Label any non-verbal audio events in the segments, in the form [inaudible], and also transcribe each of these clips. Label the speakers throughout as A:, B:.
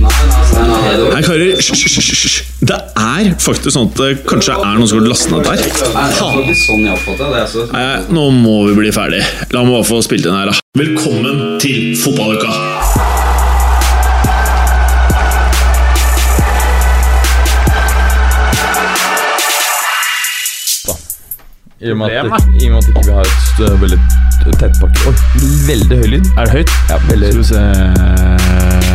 A: Nei, karer, hysj, hysj, hysj, hysj. Det er faktisk sånn at det kanskje er noen som har lastet ned der. Faen.
B: Sånn jeg oppfatter det. Altså.
A: Nei, nå må vi bli ferdig. La meg bare få spilt inn her, da. Velkommen til fotballuka!
B: I og med at, i og med at ikke vi ikke har et stø- veldig tett pakke Oi, Veldig høy lyd.
C: Er det høyt?
B: Ja, veldig
C: Skal vi se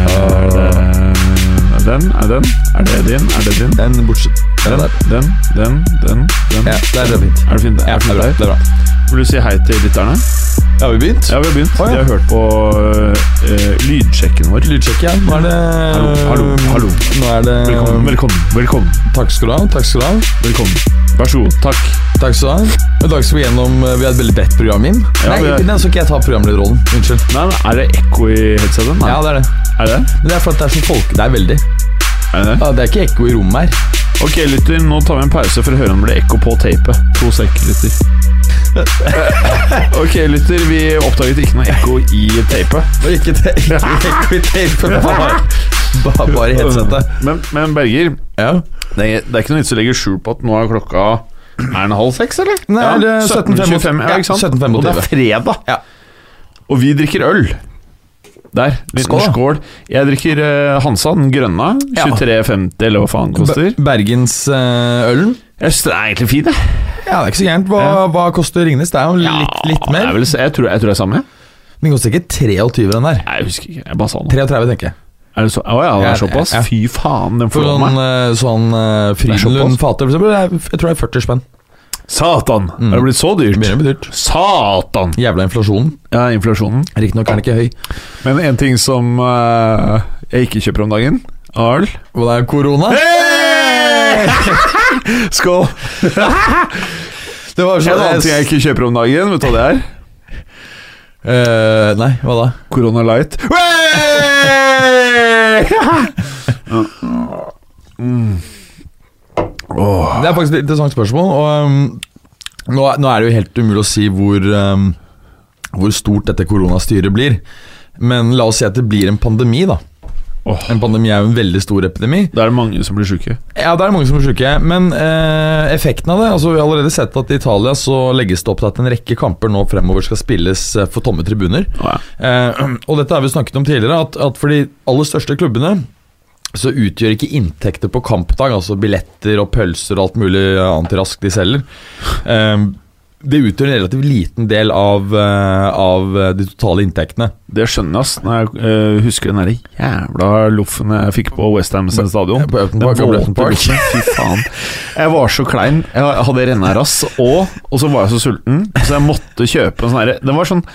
C: Eh, Er det den? Er den? Er det din? Er det din?
B: Den bortsett. Den
C: Den,
B: der.
C: den, den, den, den.
B: Ja, der er det fint.
C: Er det fint?
B: Ja,
C: Er det fint
B: det er bra.
C: der?
B: Det er bra.
C: Vil du si hei til lytterne?
B: Ja, har vi begynt?
C: Ja, vi har begynt.
B: Å, ja.
C: De har hørt på eh, lydsjekken vår.
B: Lydsjekk igjen. Nå er det
C: Hallo, hallo, hallo.
B: Nå er det
C: Velkommen, velkommen, velkommen.
B: Takk skal du ha. Takk skal du ha.
C: velkommen. Vær så god. Takk.
B: Takk skal du ha. I dag skal vi gjennom eh, Vi har et veldig bredt program, Jim.
C: Ja,
B: Nei,
C: vi har-
B: ikke den skal ikke jeg ta programlederrollen. Unnskyld.
C: Nei, nei, er det ekko i headseten? Nei.
B: Ja, det er det.
C: Er det?
B: Men det er fordi det er så folk... Det er veldig.
C: Er det?
B: Ja, det er ikke ekko i rommet her.
C: Ok, lytter, nå tar vi en pause for å høre om det blir ekko på tapet. To sek, lytter. ok, lytter, vi oppdaget ikke noe ekko i tapet.
B: Det er ikke, te ikke [laughs] ekko i
C: [laughs]
B: tape. Bare, bare, bare i headsetet.
C: Men, men Berger,
B: Ja.
C: det er, det er ikke noe vits å legge skjul på at nå er klokka Er den halv seks, eller?
B: Nei, det er
C: 17.25,
B: 17.25,
C: ja, ikke sant?
B: ja, 17.25.
C: Og det er fredag.
B: Ja.
C: Og vi drikker øl. Der. Liten
B: Skål.
C: skål. Jeg drikker eh, Hansa, den grønne.
B: Ja.
C: 23,50, eller hva faen den koster.
B: Be- Bergensølen.
C: Jeg synes det er egentlig fin, jeg.
B: Ja, det er ikke så gærent. Hva,
C: Ja.
B: hva koster Ringnes? Det er jo litt, litt
C: det er
B: mer.
C: vel- jeg, tror, jeg tror det er samme. jeg.
B: Den koster ikke 23, den der.
C: Nei, Jeg husker ikke. Jeg bare sa noe.
B: 33, tenker jeg.
C: Er det så, å ja, det
B: Ja,
C: er såpass?
B: ja.
C: Fy faen, den
B: For
C: forlot
B: sånn,
C: meg.
B: eh, sånn eh,
C: er såpass.
B: Frydenlund-fatet, for eksempel, det er- jeg tror det er 40 spenn.
C: Satan! Er Mm. det blitt så dyrt?
B: Begynner å bli dyrt.
C: Satan!
B: Jævla inflasjonen.
C: Ja, inflasjonen.
B: Riktignok er den ikke høy.
C: Men en ting som eh, jeg ikke kjøper om dagen Arl
B: Og det er korona.
C: [laughs] Skål
B: Det var sånn
C: En annen ting jeg ikke kjøper om dagen Vet du hva det er?
B: Eh, Nei, hva da?
C: Corona Light
B: Det er faktisk et interessant spørsmål. Og um, nå, er- nå er det jo helt umulig å si hvor, um, hvor stort dette koronastyret blir. Men la oss si at det blir en pandemi, da.
C: Åh.
B: En pandemi er jo en veldig stor epidemi.
C: Da er [laughs] det mange som blir syke
B: Ja, det er mange som er syke, men eh, effekten av det altså Vi har allerede sett at i Italia så legges det opp til at en rekke kamper nå fremover skal spilles eh, for tomme tribuner.
C: Åja.
B: Eh, [clears throat] og dette har vi snakket om tidligere, at, at for de aller største klubbene så utgjør ikke inntekter på kampdag, altså billetter og pølser og alt mulig annet raskt de selger. Eh, det utgjør en relativt liten del av, eh, av eh, de totale inntektene.
C: Det skjønner jeg ass Når jeg eh, husker den der jævla loffen jeg fikk på West Ham sin stadion
B: På Upton
C: Den
B: Park, gamle
C: våte
B: Upton Park.
C: loffen, [laughs] Fy faen Jeg var så klein Jeg hadde rennerass Og, og så var jeg så sulten Så jeg måtte kjøpe en sånn her Den var sånn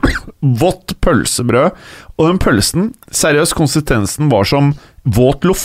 C: [coughs] vått pølsebrød Og den pølsen Seriøst, konsistensen var som våt loff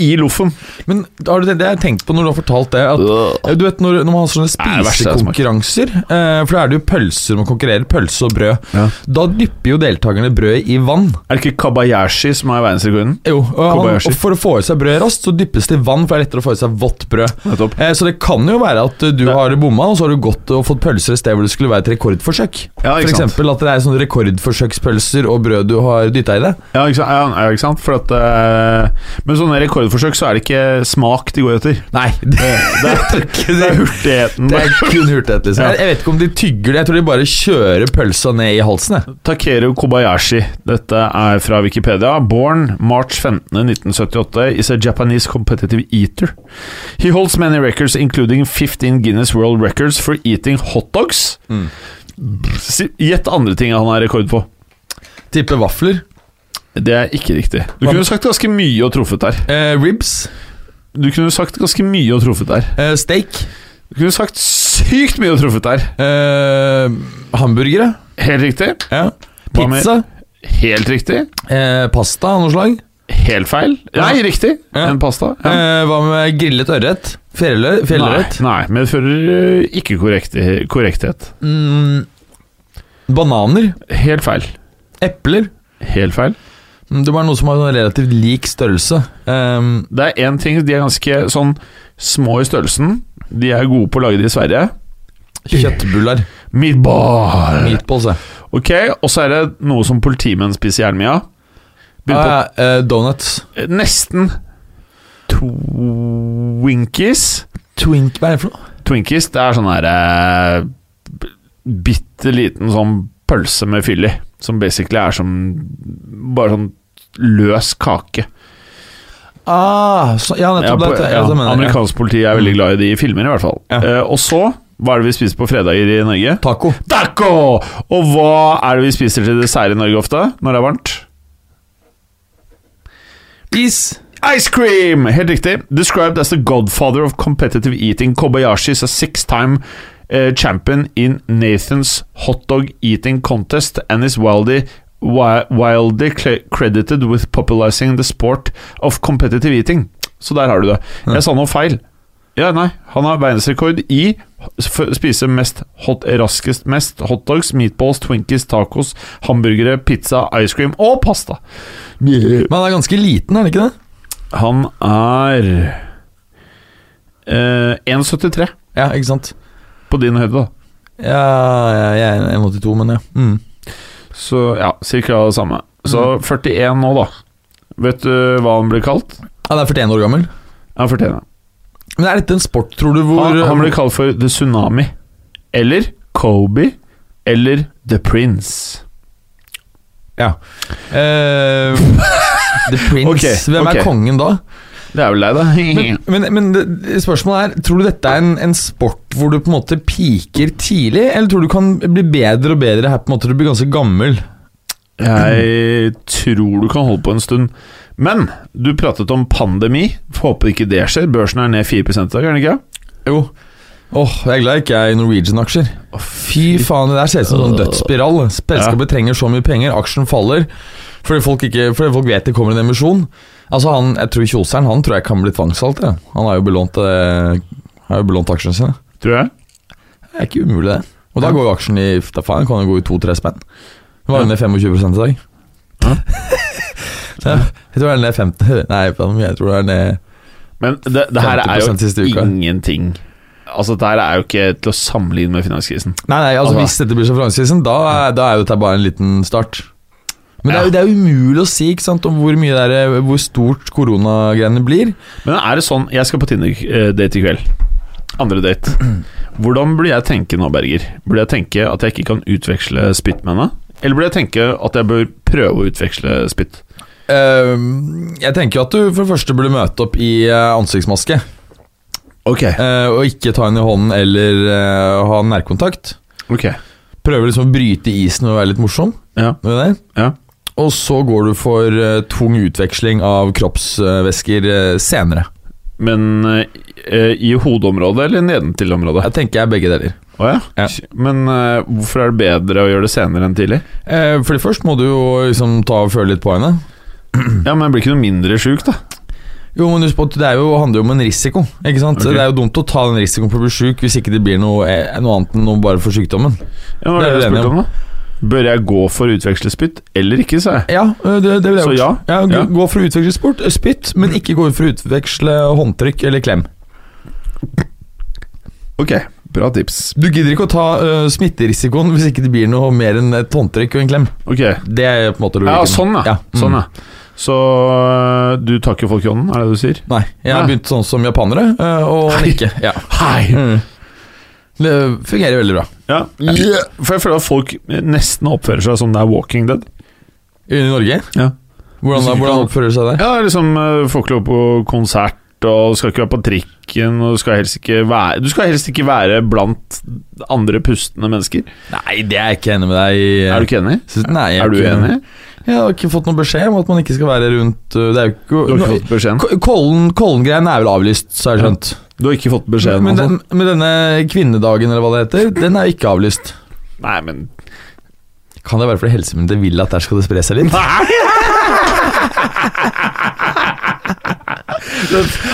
C: I loffen
B: Men har du tenkt, det har jeg tenkt på når du har fortalt det at,
C: Øh.
B: Du vet når, når man har sånne
C: Nei, det verste jeg har smakt.
B: spisekonkurranser eh, For da er det jo pølser man konkurrerer Pølse og brød
C: Ja.
B: Da dypper jo deltakerne brødet i vann
C: Er det ikke Kabayashi som er verdensrekorden?
B: jo, og, han,
C: Kobayashi.
B: og for å få i seg brød raskt Så dyppes det i vann For det er lettere å få i seg vått brød
C: Nettopp.
B: eh, Så det kan jo være at eh, du
C: Det-
B: har bomma Og så har du gått og fått pølser et sted Hvor det skulle være et rekordforsøk
C: Ja, ikke
B: For
C: sant.
B: eksempel at det er sånne rekordforsøkspølser Og brød du har dyttet i det
C: Ja, ikke sant? Ja, ja, ikke sant? For at, eh, med sånne rekordforsøk så er det ikke smak de går etter.
B: Nei, [laughs] det,
C: Det er, det er hurtigheten.
B: det er kun hurtighet liksom
C: Ja.
B: jeg, jeg vet ikke om de tygger det Jeg tror de bare kjører pølsa ned i halsen jeg.
C: Takeru Kobayashi. Dette er fra Wikipedia. Born March 15, 1978, is a Japanese competitive eater. He holds many records, including 15 Guinness World Records for eating hotdogs.
B: Mm.
C: Si- Gjett andre ting han har rekord på.
B: Tipper vafler
C: Det er ikke riktig. Du
B: Hva-
C: kunne sagt ganske mye og truffet der.
B: eh, Ribs
C: Du kunne sagt ganske mye og truffet der.
B: Eh, steak.
C: Du kunne sagt sykt mye og truffet der.
B: Eh, hamburgere.
C: Helt riktig.
B: Ja.
C: Hva med-
B: Pizza.
C: Helt riktig.
B: Eh, pasta av noe slag.
C: Helt feil. Nei, riktig.
B: Ja.
C: En pasta. Ja.
B: Eh, hva Eh, med grillet ørret? Fjellrett? Fjellrett.
C: Nei, nei medfører eh, ikke korrekt, korrekthet.
B: Mm, bananer?
C: Helt feil.
B: Epler?
C: Helt feil.
B: Mm, Det var noe som har en relativt lik størrelse. Ehm,
C: Det er én ting, de er ganske sånn små i størrelsen. De er gode på å lage de i Sverige.
B: kjøttbuller.
C: Meatball.
B: Meatballs, ja.
C: Ok, og så er det noe som politimenn spiser jern mye av. Begynner
B: Ah, ja, eh, donuts.
C: på eh, nesten Twinkies.
B: Twink, hva er det for noe?
C: Twinkies, det er sånn her eh, b- Bitte liten sånn pølse med fyll i. Som basically er som Bare sånn løs kake.
B: Ah, så, ja,
C: Ja,
B: nettopp.
C: på, altså,
B: det,
C: ja,
B: det mener jeg.
C: amerikansk politi er veldig glad i de i filmer, i hvert fall.
B: Ja.
C: Eh, og så, hva er det vi spiser på fredager i Norge?
B: Taco.
C: Taco! Og hva er det vi spiser til dessert i Norge ofte når det er varmt?
B: Is.
C: Ice cream! Helt riktig. Described as the godfather of competitive eating, Kobayashi is a six-time eh, champion in Nathan's hot dog eating contest and is wildly, wi- wildly cl- credited with popularizing the sport of competitive eating. Så der har du det. Jeg sa noe feil. Ja, nei. Han har verdensrekord i f- spise mest hot, raskest mest hotdogs, meatballs, twinkies, tacos, hamburgere, pizza, ice cream og pasta. Yeah.
B: Men han er ganske liten, er han ikke det?
C: Han er eh, 1,73
B: Ja, ikke sant?
C: på din høyde, da.
B: Ja, ja, jeg er 1,82, men ja. Mm.
C: Så ja, cirka det samme. Så 41 nå, da. Vet du hva han ble kalt?
B: Han er 41 år gammel.
C: Han fortjener det.
B: Men er dette en sport, tror du, hvor eh,
C: Han, Ah, han ble kalt for The Tsunami. Eller Kobe. Eller The Prince.
B: Ja. Eh, [laughs] The Prince.
C: Ehm, Ok,
B: Hvem
C: ok.
B: er kongen da?
C: Det er vel deg, da.
B: Men, men, men det, det spørsmålet er Tror du dette er en, en sport hvor du på en måte piker tidlig, eller tror du du kan bli bedre og bedre her på en måte du blir ganske gammel?
C: Jeg tror du kan holde på en stund. Men du pratet om pandemi. Får håpe ikke det skjer. Børsen er ned 4 i dag, er den ikke?
B: Jo. Åh, jeg er glad ikke jeg er i Norwegian-aksjer. Fy faen, det der ser ut som en sånn dødsspiral. Selskapet trenger så mye penger, aksjen faller fordi folk, ikke, fordi folk vet det kommer en emisjon. Altså han, Jeg tror Kjoseren han tror jeg kan bli tvangssolgt. jeg. Han har jo belånt, eh, har jo belånt aksjene sine.
C: Tror jeg.
B: Det er ikke umulig, det. Og da går jo aksjen i da faen, kan jo gå i to-tre spenn. Det var
C: Ja.
B: jo ned 25 i dag.
C: Ja.
B: [laughs] Ja, jeg tror det er ned 50 [laughs] Nei, faen, jeg tror det er ned
C: Men det, det her er
B: 50% siste
C: jo
B: uka.
C: ingenting Altså, det her er jo ikke til å sammenligne med finanskrisen.
B: Nei, nei, altså
C: Altså-
B: Hvis dette blir sjeferanskrisen, da, er- da er jo dette bare en liten start. Men det er,
C: Ja.
B: jo, det er jo umulig å si ikke sant, om hvor, mye det er, hvor stort koronagreiene blir.
C: Men er det sånn Jeg skal på Tinder-date i kveld. Andre date. [clears throat] Hvordan burde jeg tenke nå, Berger? Burde jeg tenke at jeg ikke kan utveksle spytt med henne? Eller burde jeg tenke at jeg bør prøve å utveksle spytt?
B: Ehm, jeg tenker jo at du for det første burde møte opp i eh, ansiktsmaske.
C: Ok.
B: eh, og ikke ta henne i hånden eller eh, ha nærkontakt.
C: Ok.
B: Prøve liksom å bryte isen og være litt morsom.
C: Ja.
B: med det.
C: ja.
B: Og så går du for eh, tung utveksling av kroppsvæsker eh, senere.
C: Men eh, i hodeområdet eller nedentil-området?
B: Jeg tenker jeg begge deler.
C: Å ja.
B: Ja.
C: Men eh, hvorfor er det bedre å gjøre det senere enn tidlig?
B: Eh, fordi først må du jo liksom ta og føle litt på henne.
C: Ja, men jeg blir ikke noe mindre sjuk, da.
B: Jo, men husk på at det er jo, handler jo om en risiko. Ikke sant?
C: Ok.
B: Det er jo dumt å ta den risikoen for å bli sjuk hvis ikke det blir noe, eh, noe annet enn noe bare for sykdommen.
C: Ja, det
B: Det
C: var
B: er
C: det
B: vi
C: jeg
B: enige
C: spurte om, da. Bør jeg gå for å utveksle spytt eller ikke, sa jeg.
B: Ja, eh, det, det vil jeg
C: Så ja.
B: gjort. Ja, gå-
C: Ja.
B: Gå for å utveksle sport, eh, spytt, men ikke gå for å utveksle håndtrykk eller klem.
C: Ok, bra tips.
B: Du gidder ikke å ta eh, smitterisikoen hvis ikke det blir noe mer enn et håndtrykk og en klem.
C: Ok.
B: Det er på en måte
C: Ja,
B: logikken.
C: sånn, ja.
B: mm.
C: Sånn, ja. Så øh, du takker folk i hånden, er det det du sier?
B: Nei, jeg har
C: Nei.
B: begynt sånn som japanere, øh, og
C: Hei.
B: nikke. Ja.
C: Hei!
B: Det fungerer veldig bra.
C: Ja. For jeg føler at folk nesten oppfører seg som det er Walking Dead.
B: I Norge?
C: Ja.
B: Hvordan, da, hvordan oppfører du seg der?
C: Ja, liksom øh, Folk går på konsert, og skal ikke være på trikken, og skal helst ikke være Du skal helst ikke være blant andre pustende mennesker.
B: Nei, det er jeg ikke enig med deg i.
C: Er du ikke enig?
B: Synes- Nei, jeg
C: Er du
B: ikke-
C: enig?
B: Jeg har ikke fått noen beskjed om at man ikke skal være rundt øh, Det er jo
C: Du har
B: ikke
C: ikke fått beskjeden?
B: Ko- Kollen- Kollen-greien er vel avlyst, så har jeg skjønt.
C: Du har ikke fått beskjeden?
B: Men,
C: altså?
B: den, men denne kvinnedagen, eller hva det heter, den er jo ikke avlyst.
C: Nei, men
B: Kan det være fordi helsemyndighetene vil at der skal det spre seg litt?
C: Nei!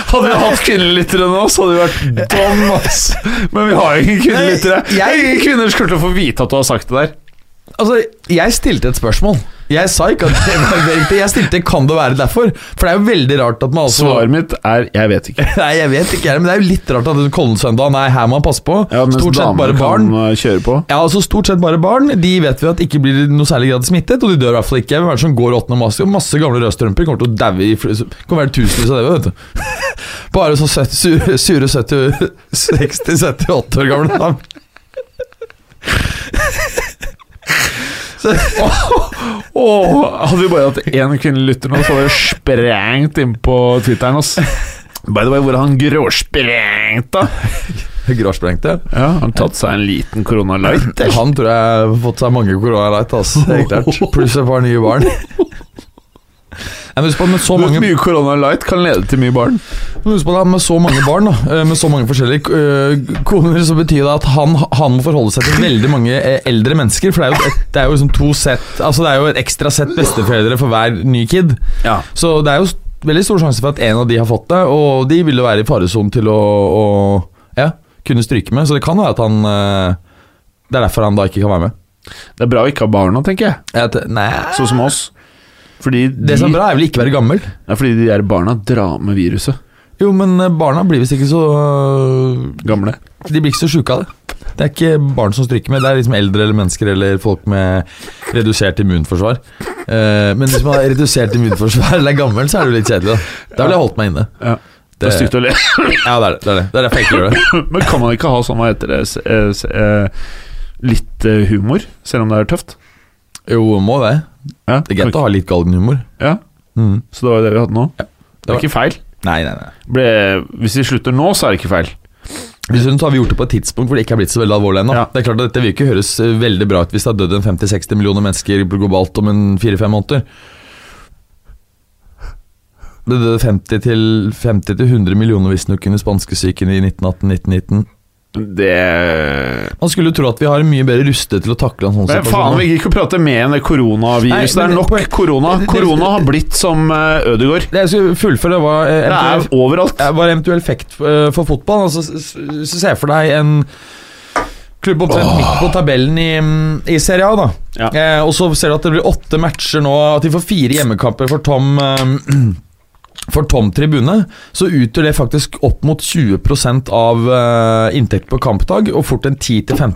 C: Hadde vi hatt kvinnelyttere nå, så hadde vi vært dom, ass. Men vi har jo ingen kvinnelyttere.
B: Nei, jeg-
C: Ingen kvinner skulle til å få vite at du har sagt det der.
B: Altså, jeg stilte et spørsmål. Jeg sa ikke at det var egentlig Jeg stilte 'kan det være derfor?' For det er jo veldig rart at man altså
C: Svaret mitt er 'jeg vet ikke'.
B: [laughs] Nei, jeg vet ikke, men det er jo litt rart at Kollensøndag Nei, her må man passe på.
C: Ja, mens
B: Stort sett
C: damene
B: bare barn.
C: kan uh, kjøre på.
B: Ja, altså stort sett bare barn. De vet vi at ikke blir i noe særlig grad smittet, og de dør i hvert fall ikke. Hvem er det som går 8. mars? Jo, Masse gamle rødstrømper kommer til å daue i fl- Kommer være tusenvis av daue, vet du. [laughs] Bare sånn søt- sure, sure 70 60-78 år gamle dam. [laughs] Så,
C: Åh, hadde vi bare hatt én kvinnelig lytter nå, så hadde vi sprengt inn på Twitteren. Ass. By the way, hvor er han gråsprengt, da?
B: Gråsprengte.
C: Ja, Han tatt seg en liten korona light.
B: Han tror jeg har fått seg mange koronalight, altså. Helt klart. Pluss et par nye barn. Nei, men husk på at med så
C: Du vet,
B: mange
C: mye korona light kan lede til mye barn.
B: Men Husk på det, Med så mange barn da, eh, med så mange forskjellige eh, koner, så betyr det at han, han må forholde seg til veldig mange eh, eldre mennesker. For det er jo, et, det er jo liksom to sett Altså det er jo et ekstra sett besteforeldre for hver ny kid.
C: Ja.
B: Så det er jo s- veldig stor sjanse for at en av de har fått det, og de vil jo være i faresonen til å, å ja, kunne stryke med. Så det kan være at han eh, Det er derfor han da ikke kan være med.
C: Det er bra å ikke ha barn nå, tenker jeg.
B: Jeg vet- nei
C: Sånn som oss. Fordi de,
B: Det som er bra, er vel ikke være gammel.
C: Ja, fordi de der barna drar med viruset.
B: Jo, men eh, barna blir visst ikke så øh,
C: Gamle.
B: De blir ikke så sjuke av det. Det er ikke barn som stryker med, det er liksom eldre eller mennesker eller folk med redusert immunforsvar. Eh, men hvis man har redusert immunforsvar eller er gammel, så er det jo litt kjedelig. Da Da ville jeg holdt meg inne.
C: Ja. Det
B: Det-
C: er stygt å le. [laughs]
B: Ja, det er det. Det er, det. Det er derfor jeg ikke gjør det.
C: Men kan man ikke ha sånn, hva heter det, s- eh, s- eh, litt eh, humor, selv om det er tøft?
B: Jo, må det.
C: Ja,
B: Det er greit å ha litt galgenhumor.
C: Ja,
B: Mm.
C: Så det var jo det vi hadde nå. Det
B: var-
C: er ikke feil.
B: Nei, nei, nei.
C: Ble, hvis vi slutter nå, så er det ikke feil.
B: Dessuten så har vi gjort det på et tidspunkt hvor det ikke er blitt så veldig alvorlig ennå.
C: Ja.
B: Det er klart at Dette vil ikke høres eh, veldig bra ut hvis det har dødd en 50-60 millioner mennesker globalt om en 4-5 måneder. Det døde 50 til, 50 til 100 millioner visstnok under spanskesyken i 1918-1919.
C: Det
B: Man skulle jo tro at vi har mye bedre rustet til å takle en sånn
C: Men faen, vi
B: situasjon. nå.
C: gidder ikke å prate mer enn det koronaviruset. Det
B: Nei,
C: er
B: men-
C: nok korona. Korona har blitt som eh, Ødegaard.
B: Det jeg skulle fullføre, var eh,
C: Det er
B: eventuell-
C: overalt.
B: eh, var eventuell effekt eh, for fotball. Altså, s- s- så Se for deg en klubb omtrent midt på tabellen i, mm, i Serie A. da
C: Ja.
B: eh, Og så ser du at det blir åtte matcher nå, at de får fire hjemmekamper for tom eh, [clears throat] for tom tribune så utgjør det faktisk opp mot 20 av eh, inntekt på kampdag, og fort en 10-15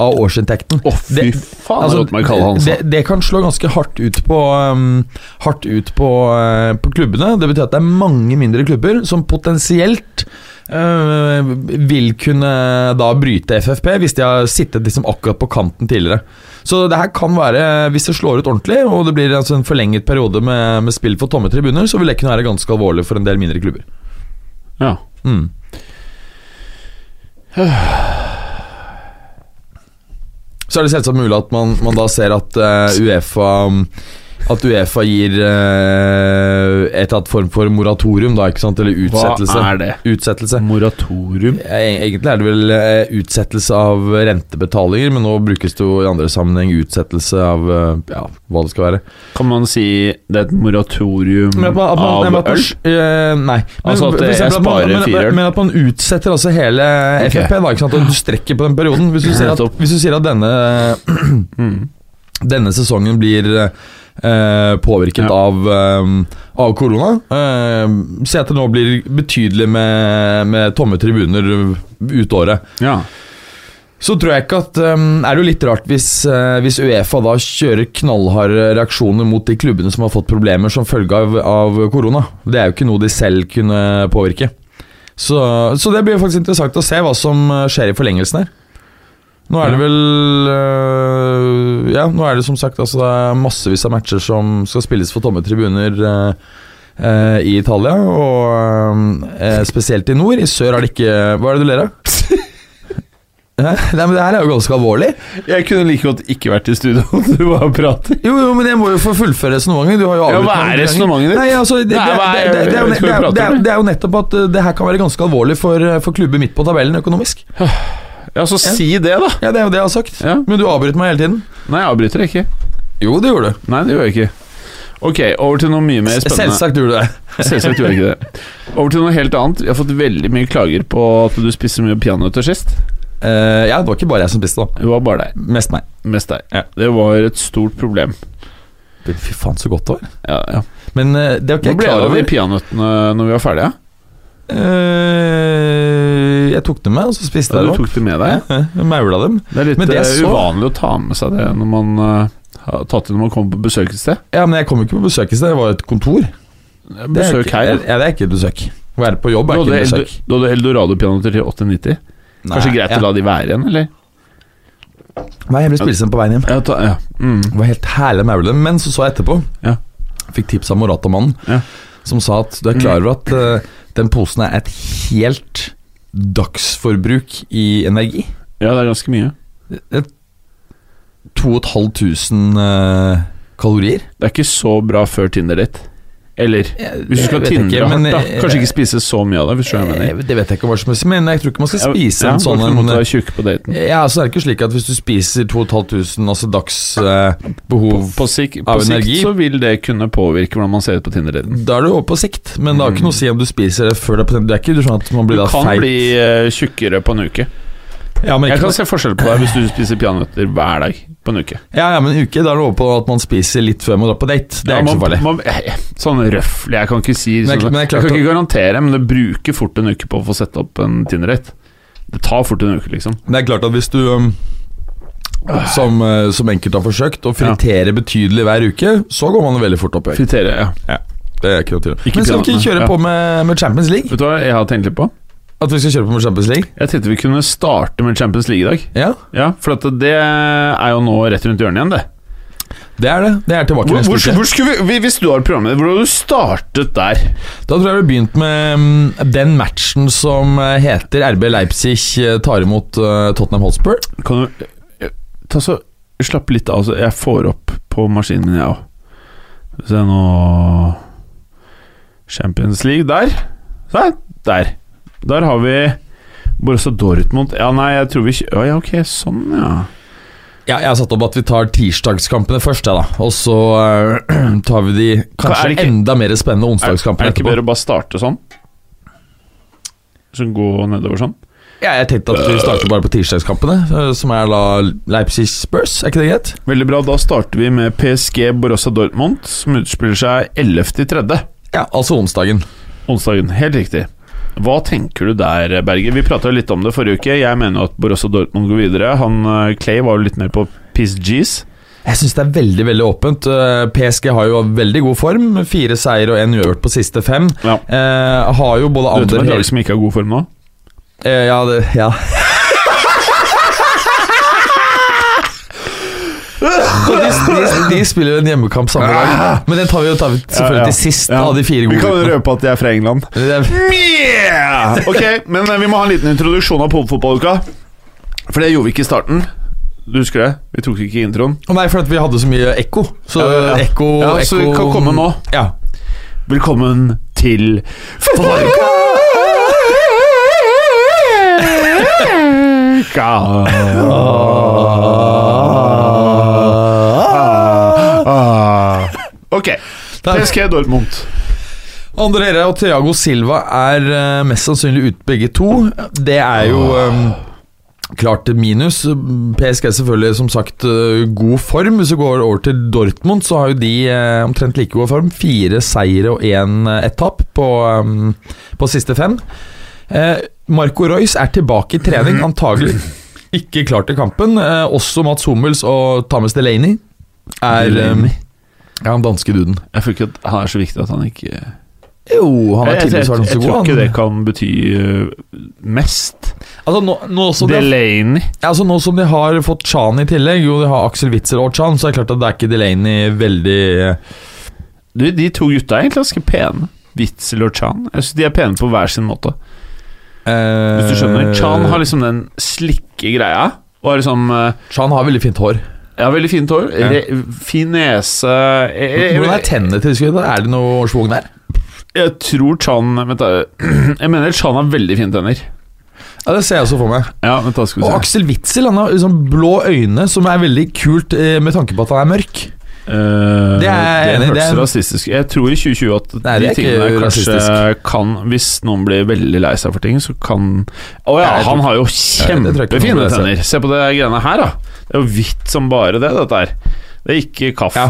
B: av årsinntekten.
C: Å, fy
B: Det-
C: faen,
B: Altså,
C: altså, meg kalle han
B: det,
C: sånn.
B: det kan slå ganske hardt ut på um, Hardt ut på, eh, på klubbene. Det betyr at det er mange mindre klubber som potensielt eh, vil kunne da bryte FFP, hvis de har sittet liksom akkurat på kanten tidligere. Så det her kan være, hvis det slår ut ordentlig, og det blir altså en forlenget periode med, med spill for tomme tribuner, så vil det kunne være ganske alvorlig for en del mindre klubber.
C: Ja.
B: Mm. Så er det selvsagt mulig at man, man da ser at eh, Uefa At Uefa gir eh, et eller annet form for moratorium, da, ikke sant? Eller
C: Hva
B: utsettelse.
C: er det?
B: Utsettelse.
C: Moratorium.
B: E- Egentlig er det vel eh, utsettelse av rentebetalinger, men nå brukes det jo i andre sammenheng utsettelse av eh, ja, hva det skal være.
C: Kan man si det er et moratorium
B: Men at man, at man, nei,
C: av
B: men at man,
C: øl?
B: eh, nei. Men,
C: Altså at,
B: for
C: eh,
B: eksempel
C: jeg
B: at man-
C: sparer
B: men-
C: firehjul.
B: Men at man utsetter altså hele
C: Ok.
B: FFP, da, ikke sant? og du strekker på den perioden. Hvis du sier at,
C: Nettopp.
B: hvis du sier at denne,
C: Mm.
B: denne sesongen blir eh, påvirket
C: Ja.
B: av, eh, av korona eh, Si at det nå blir betydelig med, med tomme tribuner ut året.
C: Ja.
B: Så tror jeg ikke at ehm, Er det jo litt rart hvis, eh, hvis Uefa da kjører knallharde reaksjoner mot de klubbene som har fått problemer som følge av, av korona. Det er jo ikke noe de selv kunne påvirke. Så, så det blir jo faktisk interessant å se hva som eh, skjer i forlengelsen her. Nå er det vel eh, Ja, nå er det som sagt altså, det er massevis av matcher som skal spilles for tomme tribuner. eh, eh, I Italia, og eh, spesielt i nord. I sør er det ikke Hva er det du ler av? Hæ? Nei, men Det her er jo ganske alvorlig.
C: Jeg kunne like godt ikke vært i studio, [laughs] du bare prater.
B: Jo, jo, men jeg må jo få fullføre resonnementet. Du har jo
C: Ja,
B: avbrutt
C: hva
B: meg
C: er
B: noen
C: resonnementet ditt?
B: ganger. Nei, altså, det, det,
C: Nei, hva er-
B: det, det, det, er
C: jeg
B: jo
C: vet
B: nett-
C: ikke
B: det,
C: hva
B: er-
C: du prater
B: det, er-
C: om.
B: det er jo nettopp at uh, det her kan være ganske alvorlig for, uh, for klubber midt på tabellen økonomisk.
C: Ja, så si det, da.
B: Ja, Det er jo det jeg har sagt.
C: Ja.
B: Men du avbryter meg hele tiden.
C: Nei, jeg avbryter ikke.
B: Jo, det gjorde du.
C: Nei, det gjør jeg ikke. Ok, over til noe mye mer spennende.
B: Selvsagt gjorde du det.
C: [laughs] Selvsagt gjorde jeg ikke det. Over til noe helt annet. Vi har fått veldig mye klager på at du spiser mye peanøtter sist.
B: Eh, ja, det var ikke bare jeg som spiste, da.
C: Det var bare deg.
B: Mest meg.
C: Mest deg.
B: Ja.
C: Det var et stort problem.
B: Fy faen, så godt det var.
C: Ja, ja.
B: Men eh, det var
C: Hvor
B: ikke jeg
C: ble det
B: klar
C: av de
B: over.
C: peanøttene når vi var ferdige?
B: Eh, jeg tok dem med, og så spiste
C: Da
B: jeg
C: du
B: dem.
C: tok de med deg?
B: Ja, jeg [laughs] Maula dem.
C: Det er litt
B: Men det
C: eh,
B: så-
C: uvanlig å ta med seg det når man eh, har tatt det når man kommer på besøk et sted.
B: Ja, Men jeg kom jo ikke på besøk i sted, det var jo et kontor. Det er
C: Besøk
B: ikke,
C: her.
B: Ja, det er ikke et besøk. Å være på jobb
C: Du
B: er
C: hadde,
B: ikke et
C: Eldo-
B: besøk.
C: du hadde eldorado-peanøtter til 8,90. Kanskje greit å la de være igjen, eller?
B: Nei, jeg ble spillesend på veien hjem.
C: Ja, ta, ja. Mm.
B: Det var helt herlig maule, men så så jeg etterpå.
C: Ja.
B: Fikk tips av Morata-mannen,
C: Ja.
B: som sa at du er klar over at eh, den posen er et helt dagsforbruk i energi.
C: ja, det er ganske mye.
B: Det er 2500 eh, kalorier.
C: Det er ikke så bra før Tinder-date. Eller Hvis du skal
B: Jeg vet
C: tindre
B: ikke,
C: hardt,
B: men,
C: da.
B: eh,
C: Kanskje ikke spise så mye av det. Hvis du skjønner hva jeg mener.
B: eh, Det vet jeg ikke hva som helst, men jeg tror ikke man skal spise
C: ja,
B: en sånn
C: Hvorfor måtte
B: en-
C: du være tjukk på daten?
B: Ja, så er det ikke slik at hvis du spiser 2500 altså dags eh, behov
C: På, sik på
B: Av
C: sikt
B: energi.
C: så vil det kunne påvirke hvordan man ser ut på Tinder-daten.
B: Da er du over på sikt, men det har ikke noe å si om du spiser det før det er på Det er ikke sånn at man
C: Du
B: blir da
C: kan
B: feit.
C: bli eh, tjukkere på en uke.
B: ja, men
C: Jeg
B: ikke
C: kan se forskjell på deg hvis du spiser peanøtter hver dag på en uke.
B: ja, ja, men en uke, da er det over på at man spiser litt før man drar på date. Det
C: Ja,
B: er ikke
C: man-
B: så farlig.
C: man- eh, Sånn røfflig, jeg kan ikke si
B: Men jeg-
C: sånn,
B: men
C: jeg,
B: jeg klarte
C: kan ikke garantere, men det bruker fort en uke på å få sette opp en Tinder-date. Det tar fort en uke, liksom.
B: Men Det er klart at hvis du um, som, eh, som enkelte har forsøkt, å fritere betydelig hver uke, så går man veldig fort opp i vekt.
C: Fritere, ja.
B: Det er ikke noe tvil om.
C: Ikke
B: Men skal vi
C: piratene,
B: ikke kjøre
C: ja.
B: på med, med Champions League?
C: Vet du hva jeg har tenkt litt på?
B: At vi skal kjøre på med Champions League?
C: Jeg tenkte vi kunne starte med Champions League i dag.
B: Ja,
C: Ja, For at det er jo nå rett rundt hjørnet igjen, det.
B: det er det. Det er tilbake
C: Hvor,
B: neste
C: hvor,
B: uke.
C: hvor skulle vi, hvis du har programmet, hvor hadde du startet der?
B: Da tror jeg vi begynte med mm, den matchen som eh, heter RB Leipzig eh, tar imot eh, Tottenham Hotspur.
C: Kan du eh, ta så, Slapp litt av, så jeg får opp på maskinen min, jeg òg. Se nå Champions League der. Der! Der, der har vi Borussia Dortmund Ja, nei, jeg tror vi ikke Å ja, ok, sånn, ja.
B: Ja, jeg har satt opp at vi tar tirsdagskampene først, ja, da. Og så eh, [clears throat] tar vi de
C: Er
B: kanskje
C: det ikke-
B: enda mer
C: Er,
B: spennende
C: er
B: onsdagskampene
C: det ikke
B: etterpå.
C: bedre å bare starte sånn? Så gå nedover sånn?
B: Ja, jeg tenkte at vi starter bare på tirsdagskampene, eh, som er da Leipzig Spurs. Er ikke det greit?
C: Veldig bra, da starter vi med PSG Borussia Dortmund, som utspiller seg 11.3.
B: Ja, altså onsdagen.
C: Onsdagen, helt riktig. Hva tenker du der, Berger? Vi prata litt om det forrige uke. Jeg mener jo at Borussia Dortmund går videre. Han eh, Clay var jo litt mer på PSGs.
B: Jeg syns det er veldig veldig åpent. Eh, PSG har jo veldig god form. Fire seier og én uavgjort på siste fem.
C: Ja.
B: Eh, har jo både
C: Du vet om et
B: andre
C: lag som ikke har god form nå?
B: Eh, ja, det, ja. Så de, de, de spiller jo en hjemmekamp samme dag, men den tar vi jo tar vi selvfølgelig til sist. Av de fire gode guttene.
C: røpe at de er fra England.
B: Det er-
C: Yeah! Ok, men eh, vi må ha en liten introduksjon av popfotballuka. For det gjorde vi ikke i starten. Du husker det? Vi tok ikke introen.
B: Å Nei, for at vi hadde så mye ekko. Så
C: Ja, ja, ja.
B: ekko
C: Ja,
B: ekko,
C: så vi kan komme nå.
B: Ja.
C: Velkommen til Ah. Ok. PSG Dortmund.
B: Andre Herre og Thiago Silva er eh, mest sannsynlig ute begge to. Det er jo eh, klart et minus. PSG er selvfølgelig som sagt eh, god form. Hvis vi går over til Dortmund, så har jo de eh, omtrent like god form. Fire seire og én eh, ett tap på, eh, på siste fem. Eh, Marco Royce er tilbake i trening, antagelig ikke klar til kampen. Eh, også Mats Hummels og Thomas Delaney er
C: Delaney.
B: eh, Ja, han danske duden.
C: Jeg føler ikke at han er så viktig at han ikke
B: Jo, han
C: Jeg,
B: har
C: jeg, jeg,
B: tidligere vært ganske
C: jeg
B: god.
C: tror ikke
B: han.
C: det kan bety eh, mest.
B: Altså nå, nå, som de,
C: Delaney.
B: altså nå som de har fått Chan i tillegg, jo de har Aksel Witzel og Chan, så er det klart at det er ikke Delaney veldig
C: Du, de to gutta er egentlig ganske pene. Witzel og Chan. Jeg synes De er pene på hver sin måte.
B: eh,
C: Hvis du skjønner Chan har liksom den slikke greia. Og er liksom eh,
B: Chan har veldig fint hår.
C: Ja, veldig fint hår.
B: Ja.
C: Re, fin nese jeg, jeg,
B: Hvordan er
C: jeg,
B: tennene til skuddet? Er det noe schwung der?
C: jeg tror Chan Vent, da. [clears throat] Jeg mener Chan har veldig fine tenner.
B: Ja, Det ser jeg også for meg.
C: Ja, vent da skal
B: Og
C: vi se.
B: Aksel Witzel han har liksom blå øyne, som er veldig kult eh, med tanke på at han er mørk.
C: Eh,
B: Det er jeg enig i, det
C: hørtes
B: er-
C: rasistisk Jeg tror i 2020 at
B: Nei,
C: de
B: det er ikke
C: tingene kanskje
B: rasistisk.
C: kan Hvis noen blir veldig lei seg for ting, så kan Å ja,
B: Nei, jeg tror-
C: han har jo
B: Nei, det tror jeg ikke noen
C: kjempefine
B: blir lei seg.
C: tenner! Se på det greiene her, da. Det er jo hvitt som bare det, dette her. Det er ikke kaffe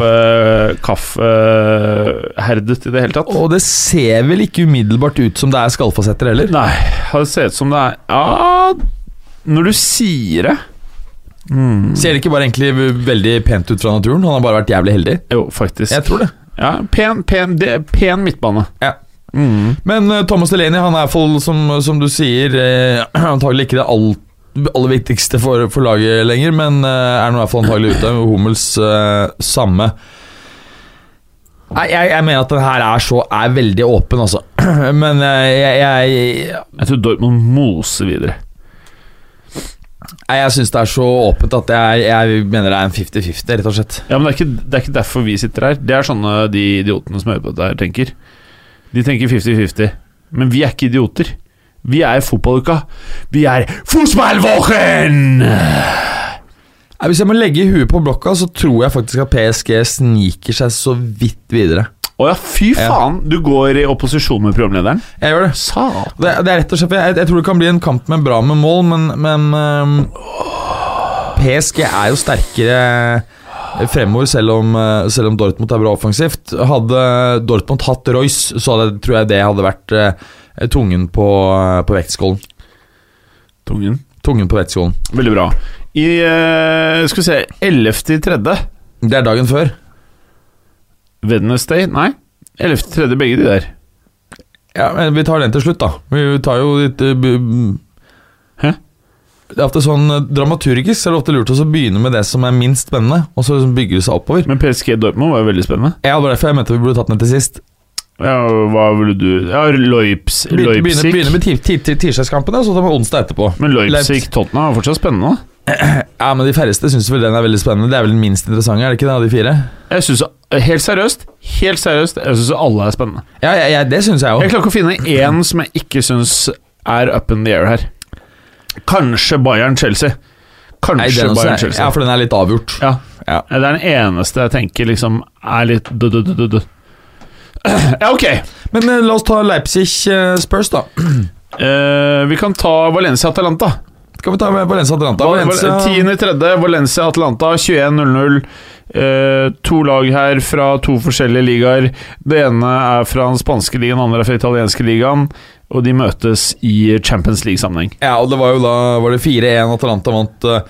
C: kaffeherdet i det hele tatt.
B: Og det ser vel ikke umiddelbart ut som det er skallfasetter heller.
C: Nei, det ser ut som det er Ja, når du sier det
B: Ser det ikke bare egentlig veldig pent ut fra naturen? Han har bare vært jævlig heldig.
C: Jo, faktisk.
B: Jeg tror det.
C: Ja, pen, pen, det, pen midtbane.
B: Ja.
C: Mm.
B: Men eh, Thomas Delaney han er iallfall, som, som du sier, eh, [clears throat] antagelig ikke det all- aller viktigste for, for laget lenger, men eh, er nå iallfall antagelig ute. Hummels eh, samme. Nei, jeg, jeg mener at den her er så er veldig åpen, altså. [clears throat] Men eh, jeg, jeg,
C: Jeg tror Dortmund moser videre.
B: jeg, jeg syns det er så åpent at jeg, jeg mener det er en 50-50, rett og slett.
C: Ja, men det er, ikke, det er ikke derfor vi sitter her. Det er sånne de idiotene som hører på dette her, tenker. De tenker 50-50. Men vi er ikke idioter. Vi er fotballuka. Vi er Fußballwochen!
B: Nei, Hvis jeg må legge huet på blokka, så tror jeg faktisk at PSG sniker seg så vidt videre.
C: Å ja, fy faen! Du går i opposisjon med programlederen?
B: Jeg gjør det.
C: Satan.
B: Det, det er rett og slett jeg, jeg tror det kan bli en kamp med bra med mål, men, men ehm, PSG er jo sterkere fremover, selv om, eh, selv om Dortmund er bra offensivt. Hadde Dortmund hatt Royce, så hadde, tror jeg det hadde vært eh, tungen på, eh, på vektskålen.
C: Tungen.
B: Tungen på vektskålen.
C: Veldig bra. I eh, Skal vi se 11. i tredje.
B: Det er dagen før.
C: Wednesday? Nei. 11. i tredje, begge de der.
B: Ja, men Vi tar den til slutt, da. Vi tar jo litt eh, bu-
C: Hæ?
B: Det er ofte sånn eh, Dramaturgisk er det ofte lurt å så begynne med det som er minst spennende, og så liksom bygger det seg oppover.
C: Men PSG Dortmund var jo veldig spennende.
B: Ja, Det var derfor jeg mente vi burde tatt den til sist.
C: Ja, hva ville du Ja, Loips,
B: Begynne, begynne,
C: Leipzig.
B: begynne med ti- ti- ti- tirsdagskampene, og så tar vi onsdag etterpå.
C: Men
B: Leipzig.
C: Leipzig-Tottenham er fortsatt spennende. da.
B: Ja, men De færreste syns vel den er veldig spennende. Det er vel den minst interessante, er det ikke det, av de fire?
C: Jeg synes, Helt seriøst, helt seriøst, jeg syns alle er spennende.
B: Ja, ja, ja det syns jeg
C: Jeg
B: òg.
C: klarer ikke å finne én som jeg ikke syns er up in the air her. Kanskje Bayern-Chelsea. Kanskje Bayern-Chelsea.
B: Ja, for den er litt avgjort.
C: Ja.
B: Ja.
C: Det er den eneste jeg tenker liksom er litt død-død-død. [clears throat] Ja, ok.
B: Men eh, la oss ta Leipzig-Spurs, da.
C: Eh, vi kan ta Valencia-Atalanta.
B: Skal vi ta Valencia-Atalanta? Valencia,
C: Val- Tiende i tredje, Valencia-Atalanta 21-0-0. Eh, to lag her fra to forskjellige ligaer. Det ene er fra den spanske ligaen, det andre er fra den italienske ligaen. Og de møtes i Champions League-sammenheng.
B: Ja, og det var jo da var det 4-1 Atalanta vant eh,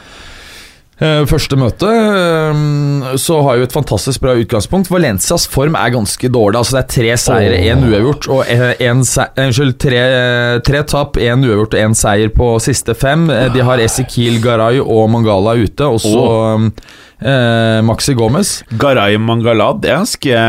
B: eh, første møte. eh, så har jo et fantastisk bra utgangspunkt. Valencias form er ganske dårlig. Altså Det er tre seire,
C: Åh.
B: én uavgjort og eh, en se eh, Unnskyld, tre, eh, tre tap, én uavgjort og én seier på siste fem. Eh, de har Ezekiel Garay og Mangala ute, og så eh, Maxi Gomez.
C: Garay Mangala, det er ganske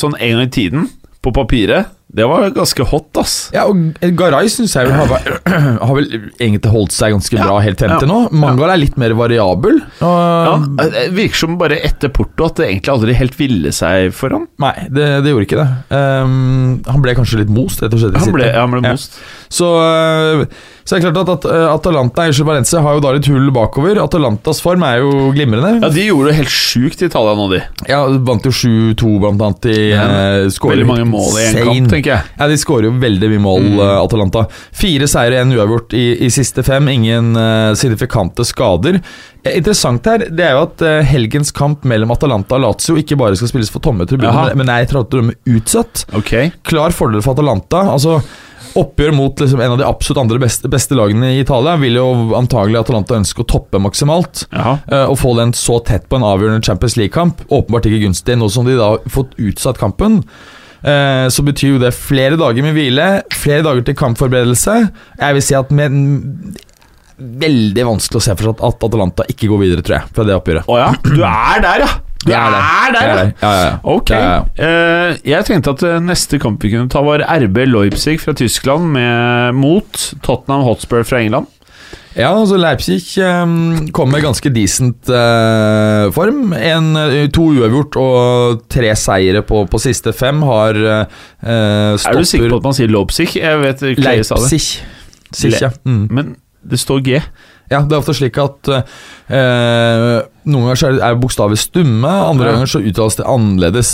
C: sånn en gang i tiden, på papiret. Det var ganske hot, ass.
B: Ja, og Garay syns jeg vel har, vært- [clears throat] har vel egentlig holdt seg ganske bra helt frem
C: ja,
B: til nå. Mangala er litt mer variabel.
C: Ja,
B: og-
C: Um, eh, det virker som bare etter Porto at det egentlig aldri helt ville seg for han.
B: Nei, det, det gjorde ikke det. Ehm, han ble kanskje litt most, rett og slett. i
C: Han
B: City.
C: ble, han ble
B: Ja.
C: most.
B: Så, øh, så er det klart at, at øh, Atalanta Unnskyld, Valencia har jo da litt hull bakover. Atalantas form er jo glimrende.
C: Ja, de gjorde det helt sjukt i Italia nå, de.
B: Ja, Vant jo 7-2, blant annet. De
C: Ja,
B: eh, skårer
C: Veldig
B: jo
C: mange mål i en
B: insane.
C: kamp, tenker jeg. Mm.
B: Ja, De skårer jo veldig mye mål, eh, Atalanta. Fire seire, én uavgjort i, i siste fem. Ingen eh, signifikante skader. Eh, Interessant her det er jo at eh, helgens kamp mellom Atalanta og Lazio ikke bare skal spilles for tomme
C: Jaha.
B: tribuner, men er etter at de er utsatt.
C: Ok
B: klar fordel for Atalanta. Altså Oppgjør mot liksom en av de absolutt andre beste, beste lagene i Italia vil jo antagelig Atalanta ønske å toppe maksimalt.
C: Jaha.
B: eh, Å få den så tett på en avgjørende Champions League-kamp, åpenbart ikke gunstig. Nå som de da har fått utsatt kampen, eh, så betyr jo det flere dager med hvile, flere dager til kampforberedelse. Jeg vil si at med Veldig vanskelig å se for seg at- at Atalanta ikke går videre, tror jeg, fra det oppgjøret.
C: Å
B: [clears throat]
C: ja, du er der, ja! Du
B: Jeg
C: er der,
B: Jeg
C: ja!
B: er der. Ja, ja, ja.
C: Ok.
B: Ja, ja.
C: Eh, jeg tenkte at eh, neste kamp vi kunne ta, var RB Leipzig fra Tyskland med, mot Tottenham Hotspur fra England.
B: Ja, altså Leipzig um, kom med ganske decent eh, form. En, eh, to uavgjort og tre seire på, på siste fem har eh,
C: Er du sikker på
B: stopper
C: at man sier Leipzig? Jeg vet Clay sa det.
B: Leipzig. Leipzig. ja. Mm.
C: Men det står G.
B: Ja, det er ofte slik at eh, noen ganger så er- er bokstaver stumme, andre
C: Ja.
B: ganger så uttales det annerledes.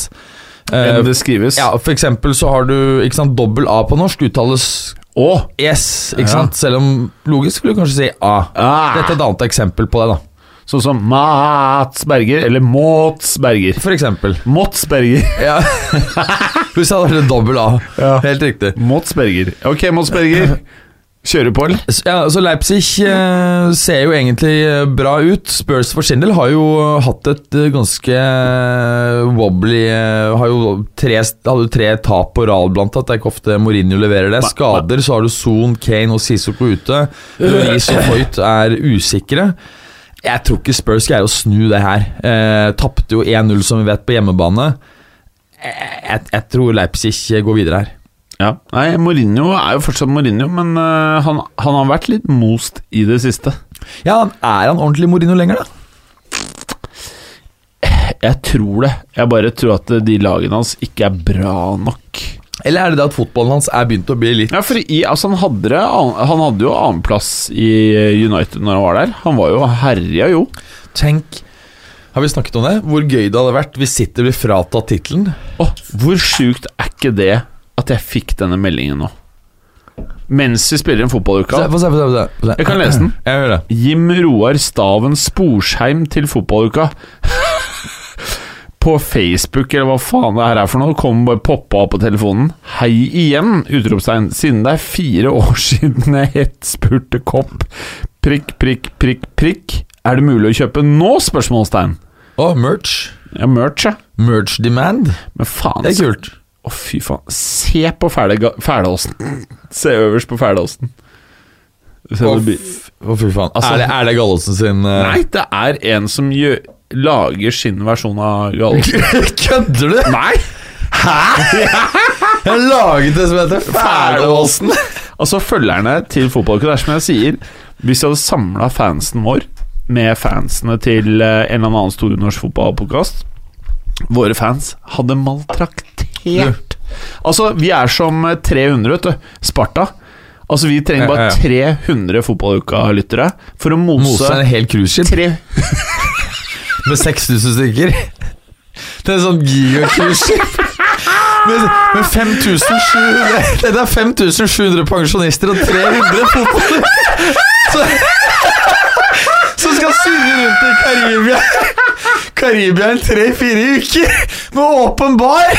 B: Eh,
C: Enn det skrives.
B: ja, for eksempel så har du ikke sant, dobbel A på norsk uttales
C: Og
B: yes, ikke
C: Ja.
B: sant? Selv om logisk skulle du kanskje si A.
C: Ah.
B: Dette er et annet eksempel på det, da.
C: sånn som Mats Berger, eller Måts Berger.
B: For eksempel.
C: Måts Berger. [laughs]
B: [laughs] Ja. Pluss hadde vært dobbel A.
C: Ja.
B: Helt riktig.
C: Måts Berger. Ok, Måts
B: [laughs]
C: Berger. Kjører på, eller?
B: S- Ja, så Leipzig eh, ser jo egentlig eh, bra ut. Spurs for sin del har jo hatt et eh, ganske eh, wobbly eh, Har jo tre, hadde jo tre tap på rad, blant annet. Det er ikke ofte Mourinho leverer det. Skader, så har du Son, Kane og Sissoko ute. Louise og Hoyt er usikre. Jeg tror ikke Spurs greier å snu det her. Eh, Tapte jo 1-0, som vi vet, på hjemmebane. Eh, Jeg, jeg tror Leipzig eh, går videre her.
C: Ja. Nei, Mourinho er jo fortsatt Mourinho, men eh, han, han har vært litt most i det siste.
B: Ja, Er han ordentlig Mourinho lenger, da?
C: Jeg tror det. Jeg bare tror at eh, de lagene hans ikke er bra nok.
B: Eller er det det at fotballen hans er begynt å bli litt
C: Ja, for i, altså han, hadde det, han hadde jo annenplass i eh, United når han var der. Han var jo herja, jo.
B: Tenk Har vi snakket om det? Hvor gøy det hadde vært hvis City blir fratatt tittelen?
C: Åh, hvor sjukt er ikke det at jeg fikk denne meldingen nå? Mens vi spiller en fotballuke.
B: Få se, få se, få se, få se.
C: Jeg kan lese den.
B: Jeg gjør det.
C: Jim Roar Staven Sporsheim til fotballuka. [laughs] på Facebook, eller hva faen det her er for noe, kom bare poppa opp på telefonen. Hei igjen! Utropstegn. Siden det er fire år [laughs] siden jeg het spurte kopp. Prikk, prikk, prikk, prikk. Er det mulig å kjøpe nå? Spørsmålstegn.
B: Å, merch.
C: Ja, merch, ja.
B: Merch demand.
C: Men faen,
B: Det er kult.
C: Å, fy faen. Se på fæle ga- fæleosten. Se øverst på fæleosten. Se
B: Å,
C: det bi-
B: f- å, fy faen.
C: Altså-
B: er det, er det Gallosen sin eh,
C: Nei, det er en som gjør, lager sin versjon av Gallosen.
B: [laughs] Kødder du?
C: Nei!
B: Jeg har laget det som heter Fælåsen.
C: Altså, følgerne til fotballuka det er som jeg sier Hvis jeg hadde samla fansen vår med fansene til eh, en eller annen stor norsk fotballpodkast Våre fans hadde maltraktert Altså, vi er som eh, 300, vet du. Sparta. Altså, vi trenger bare
B: Ja,
C: 300 fotballuka-lyttere for å
B: Mose
C: mose
B: er en hel cruiseskip
C: tre
B: med 6000 stykker. Det er sånn gigacruiseskip. Med, med 5700 Det er 5700 pensjonister og 300 fotballer Så- som skal surre rundt i Karibia Karibia i tre-fire uker med åpen bar.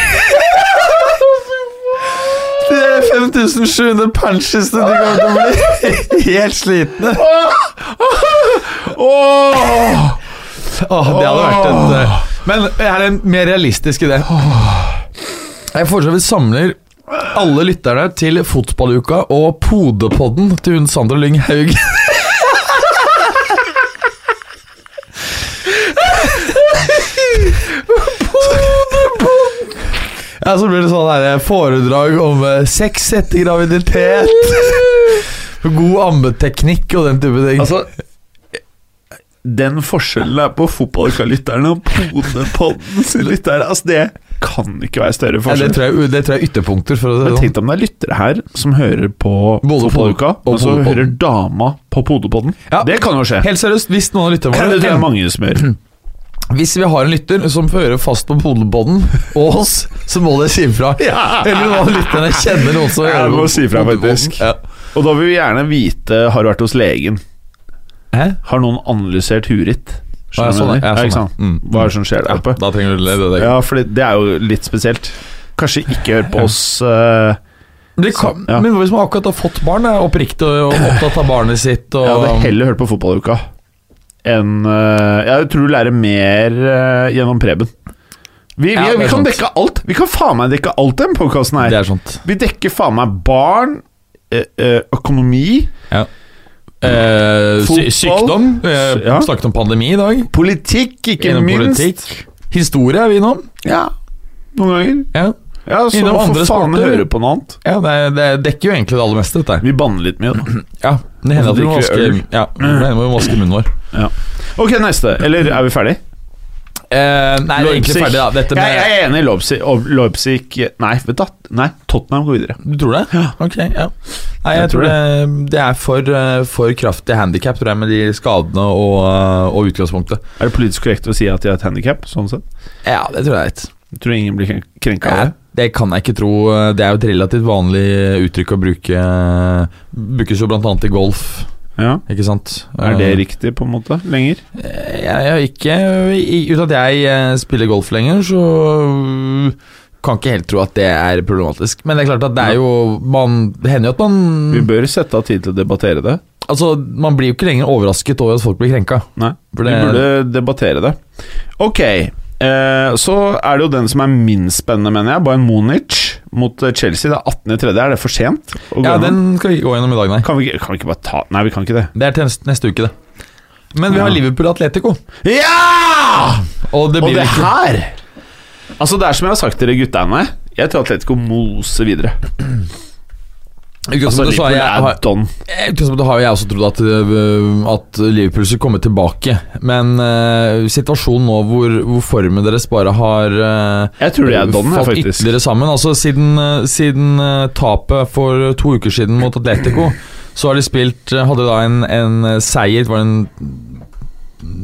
B: Det er 5700 punches de kommer til å bli helt slitne.
C: Åh!
B: Åh, det hadde vært en eh, Men er det en mer realistisk idé? Jeg foreslår vi samler alle lytterne til fotballuka og podepodden til hun Sandra Lyng Haug. Ja, så blir det sånn her foredrag om eh, sex etter
C: [laughs]
B: graviditet. God ammeteknikk og den type ting.
C: Altså Den forskjellen er på fotballuka-lytterne og podepodden sin lyttere. Altså, det kan ikke være større
B: Ja, det,
C: forskjell.
B: tror jeg, det tror jeg er ytterpunkter. For å si
C: altså- Men
B: det sånn.
C: tenk deg om det er lyttere her som hører på
B: Både
C: fotballuka,
B: pod- og
C: og så
B: podepodden.
C: hører dama på podepodden.
B: Ja.
C: Det kan jo skje.
B: Helt seriøst, hvis noen av lytterne
C: Det tror jeg
B: våre
C: mange som gjør.
B: [clears throat] Hvis vi har en lytter som fører fast på podelbånden og oss, så må dere si ifra.
C: Ja.
B: Eller noen av lytterne kjenner noen som
C: Ja,
B: hører
C: vi må
B: på
C: si ifra,
B: podelbånden.
C: faktisk.
B: Ja.
C: Og da vil vi gjerne vite Har du vært hos legen?
B: Hæ?
C: Har noen analysert huet ditt?
B: Ja,
C: Skjønner du
B: sånn,
C: hva jeg mener?
B: ja, sånn,
C: Ja, ikke sant?
B: ja. Mm.
C: Hva er det som skjer der oppe?
B: Da trenger du det. det, det.
C: Ja, for det er jo litt spesielt. Kanskje ikke hør på oss eh,
B: Men, de kan,
C: Ja.
B: men hvis man akkurat har fått barn, er oppriktig og opptatt av barnet sitt og
C: Jeg hadde heller hørt på fotballuka enn eh, Jeg tror du lærer mer eh, gjennom Preben. Vi, vi,
B: Ja, det er
C: vi kan
B: sant.
C: dekke alt! Vi kan faen meg dekke alt i denne podkasten her.
B: Det er sånt.
C: Vi dekker faen meg barn, eh, eh, økonomi,
B: Eh, sy
C: Fotball.
B: sykdom. Eh,
C: Ja.
B: Snakket om pandemi i dag.
C: politikk, ikke
B: Gjennom
C: minst.
B: politikk. Historie er vi innom.
C: Ja, noen ganger.
B: Ja.
C: Ja, så
B: Innom
C: for
B: andre
C: faen
B: sporter.
C: høre på noe annet.
B: Ja, det, det dekker jo egentlig det aller meste, dette her.
C: Vi banner litt mye,
B: [clears throat]
C: da.
B: Ja, det hender
C: Og så
B: at vi må
C: drikker
B: vaske,
C: vi øl.
B: ja, det hender vi må vaske munnen vår.
C: Ok, neste. Eller er vi ferdig?
B: Eh, nei, det er egentlig ferdig, da. Dette med
C: jeg, jeg er enig i Leipzig. og Leipzig Nei, vet du, hva? nei, Tottenham går videre.
B: Du tror det? Ja. Ok, ja. Nei, jeg,
C: Jeg
B: tror
C: tror
B: det, det er for, eh, for kraftig handikap, tror jeg, med de skadene og, eh, og utgangspunktet.
C: Er det politisk korrekt å si at de har et handikap? Sånn sett?
B: Ja, det tror jeg er rett.
C: Jeg tror ingen blir kren- krenka av
B: Ja,
C: det.
B: det kan jeg ikke tro. Det er jo et relativt vanlig uttrykk å bruke. Brukes jo blant annet i golf,
C: Ja.
B: ikke sant?
C: Er det
B: Eh,
C: riktig, på en måte? Lenger?
B: Jeg, jeg har ikke i- Uten at jeg eh, spiller golf lenger, så øh, kan ikke helt tro at det er problematisk. Men det er klart at det er jo man, Det hender jo at
C: Vi
B: man
C: bør sette av tid til å debattere det.
B: Altså, man blir jo ikke lenger overrasket over at folk blir krenka.
C: Nei,
B: For
C: vi
B: det-
C: burde debattere det. Ok, eh, så er det jo den som er minst spennende, mener jeg. Bayern Munich mot eh, Chelsea. Det er 18.3. Er det for sent? å gå
B: Ja,
C: gjennom?
B: den skal vi ikke gå gjennom i dag, nei.
C: Kan vi, ikke- kan vi ikke bare ta Nei, vi kan ikke det.
B: Det er til neste- neste uke, det. Men vi har
C: Ja.
B: Liverpool Atletico.
C: Ja!
B: Og det
C: Og
B: blir
C: det
B: ikke
C: her Altså, det er som jeg har sagt til dere guttene. Jeg tror Atletico moser videre. Altså,
B: Utgangspunktet så har
C: Liverpool
B: jeg,
C: er
B: har,
C: don.
B: i Eh, utgangspunktet har jo jeg også trodd at, øh, at Liverpool skulle komme tilbake. Men øh, situasjonen nå hvor, hvor formen deres bare har øh,
C: Jeg tror de er don, jeg,
B: falt
C: faktisk.
B: ytterligere sammen. Altså Siden, eh, siden eh, tapet for to uker siden mot Atletico, så har de spilt eh, Hadde da en, en eh, seier det var en,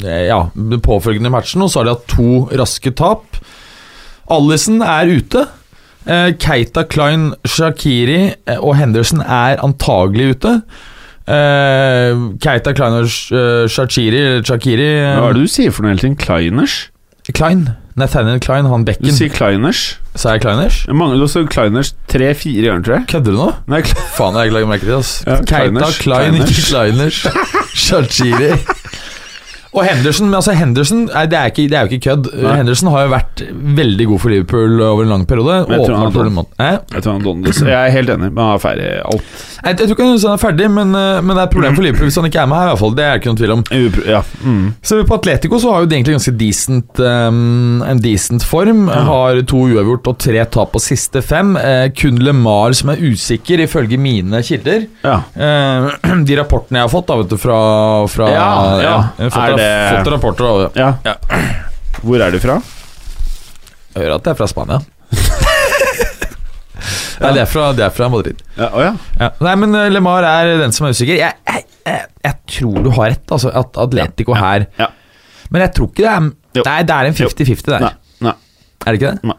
B: eh, Ja, den påfølgende matchen, og så har de hatt to raske tap. Allison er ute. Eh, Keita, Klein, Shakiri eh, og Henderson er antagelig ute. Eh, Keita, Klein og Sh- eh, Shakiri Shakiri eh,
C: Hva er det du sier for noe hele tiden? Kleiners?
B: Klein. Nathaniel Klein, han
C: Du
B: bekken.
C: sier Kleiners.
B: Sa jeg Kleiners?
C: Jeg mangler også Kleiners tre-fire ganger, tror jeg.
B: Kødder du nå?
C: Nei, Kle-
B: Faen, jeg legger merke til det. ass.
C: Ja,
B: Keita,
C: Kleiners,
B: Klein,
C: Kleiners.
B: ikke Kleiners.
C: [laughs]
B: Shachiri. Og Henderson, men altså Henderson nei, det, er ikke, det er jo ikke kødd.
C: Nei.
B: Henderson har jo vært veldig god for Liverpool over en lang periode.
C: Men jeg tror han sånn. har
B: Åpenbart
C: fått-
B: problemat- Hæ?
C: Jeg tror han Dondes Jeg er helt enig, men han er ferdig i alt.
B: Jeg, jeg tror ikke han er ferdig, men, eh, men det er et
C: Mm.
B: problem for Liverpool hvis han ikke er med her. i hvert fall, Det er det ikke noen tvil om.
C: Upro- Ja. Mm.
B: Så på Atletico så har jo de egentlig ganske decent, ehm, en decent form. Har to uavgjort og tre tap på siste fem. Eh, kun LeMar som er usikker, ifølge mine kilder.
C: ja.
B: Eh, [clears throat] de rapportene jeg har fått da, vet du, fra, fra
C: Ja, ja.
B: jeg har Fått,
C: Er det-
B: fått rapporter da, vet du.
C: ja. Hvor er du fra?
B: Jeg hører at det er fra Spania
C: [laughs]
B: Nei, det er fra, det er fra Madrid
C: Ja, Å ja.
B: ja. Nei, men eh, Lemar er den som er usikker Jeg, jeg, jeg, jeg tror du har rett, altså At Atletico her
C: Ja.
B: Men jeg tror ikke det er
C: Jo.
B: Nei, det er en 50-50 der
C: Nei. Mm. Nei.
B: Er det ikke det?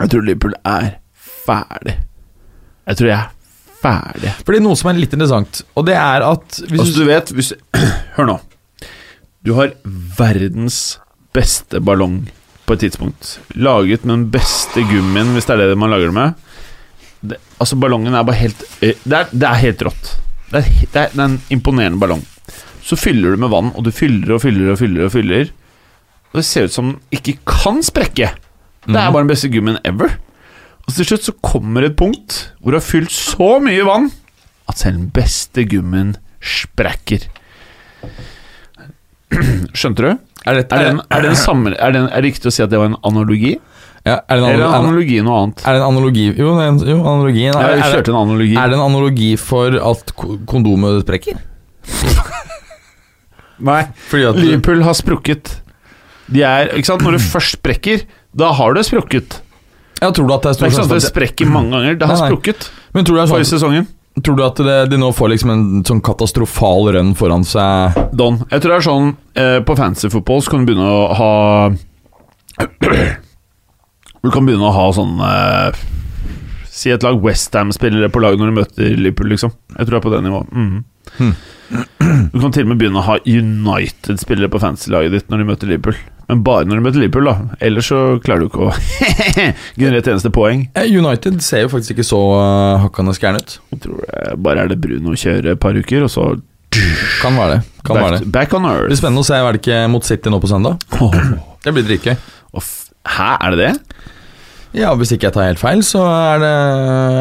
C: Jeg tror Liverpool er ferdig. Jeg tror jeg er ferdig.
B: Fordi noe som er litt interessant Og det er at hvis
C: Altså, du vet hvis [clears throat] Hør nå. Du har verdens beste ballong på et tidspunkt. Laget med den beste gummien, hvis det er det man lager det med. Det, altså, ballongen er bare helt eh, Det er, det er helt rått. Det er, he- det er, det er en imponerende ballong. Så fyller du med vann, og du fyller og fyller og fyller. Og fyller Og det ser ut som den ikke kan sprekke. Det
B: Mhm.
C: er bare den beste gummien ever. Og til slutt så kommer et punkt hvor du har fylt så mye vann at selv den beste gummien sprekker. [clears throat] Skjønte du?
B: er, det,
C: Er det,
B: er,
C: en, er, det en samme, er, det en, er det riktig å si at det var en analogi?
B: ja, er, det en,
C: Eller er
B: anal-
C: analogi noe annet?
B: er det en analogi? Jo, det er en- jo analogien er,
C: Jeg
B: er, det-
C: kjørte en analogi.
B: Er det en analogi for at ko- kondomet sprekker?
C: Nei.
B: Fordi at
C: Liverpool har sprukket. De er, ikke sant? Når det først sprekker, da har det sprukket.
B: ja, tror du at det er
C: Det
B: stor
C: er ikke sant
B: sjanse
C: at det
B: for at
C: sprekker mange ganger. Det har
B: Nei, nei.
C: sprukket
B: det- Men tror du, det er
C: forrige
B: sånn,
C: sesongen.
B: tror du at det, de nå får liksom en sånn katastrofal rønn foran seg?
C: Don. Jeg tror det er sånn eh, På fantasy football så kan du begynne å ha [clears throat] Du kan begynne å ha sånn eh, Si et lag Westham-spillere på lag når du møter Liverpool, liksom. Jeg tror det er på det nivået. Mhm. [clears throat] Du kan til og med begynne å ha United-spillere på fantasy-laget ditt når du møter Liverpool. Men bare når du møter Liverpool, da. Ellers så klarer du ikke å [laughs] generere et eneste poeng.
B: Eh, United ser jo faktisk ikke så
C: eh,
B: uh, hakkende skæren ut.
C: Jeg tror det bare er det Bruno kjører et par uker, og så
B: Kan være det. kan
C: back,
B: være det
C: back on
B: Det blir
C: earth.
B: spennende å se er det ikke mot City nå på søndag. Det blir dritgøy.
C: Og f- Hæ, er det det?
B: Ja, hvis ikke jeg tar helt feil, så er det,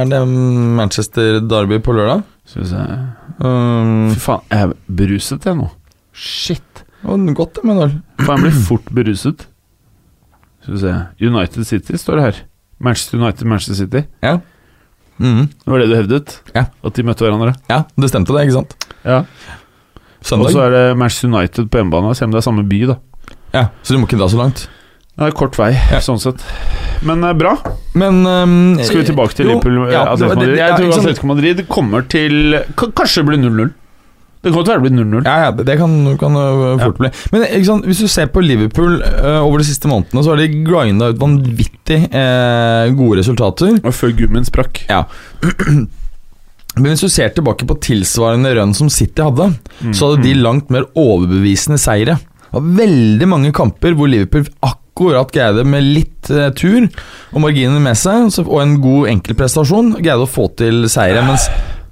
B: er det Manchester Derby på lørdag.
C: Skal vi se
B: Um,
C: Fy faen, jeg er beruset jeg nå. Shit.
B: og godt det med en øl.
C: Faen, jeg blir fort beruset. Skal vi se United City står det her. Manchester United, Manchester City.
B: Ja. Mhm.
C: Det var det du hevdet?
B: Ja.
C: At de møtte hverandre?
B: ja, det stemte det, ikke sant?
C: Ja. Og
B: Søndag.
C: så er det Manchester United på hjemmebane. Se om det er samme by, da.
B: Ja, så du må ikke dra så langt.
C: Det er kort vei, sånn sett. Men eh, bra.
B: Men ehm,
C: Skal vi tilbake til
B: jo,
C: Liverpool? eh,
B: ja, det
C: Atletico
B: var det-
C: Madrid?
B: ja,
C: Jeg
B: ikke sånn-
C: tror
B: sant?
C: Atletico Madrid kommer til k- Kanskje det blir 0-0. Det kan godt være det blir 0-0.
B: Ja, ja, det- det kan, kan øh, fort bli. Men ikke sant, hvis du ser på Liverpool øh, over de siste månedene, så har de grinda ut vanvittig eh, gode resultater.
C: Og før gummien sprakk.
B: Men hvis du ser tilbake på tilsvarende rønn som City hadde, så hadde de langt mer overbevisende seire. Det var veldig mange kamper hvor Liverpool akkurat greide med litt eh, tur og marginer med seg, så, og en god enkeltprestasjon, greide å få til seire. Mens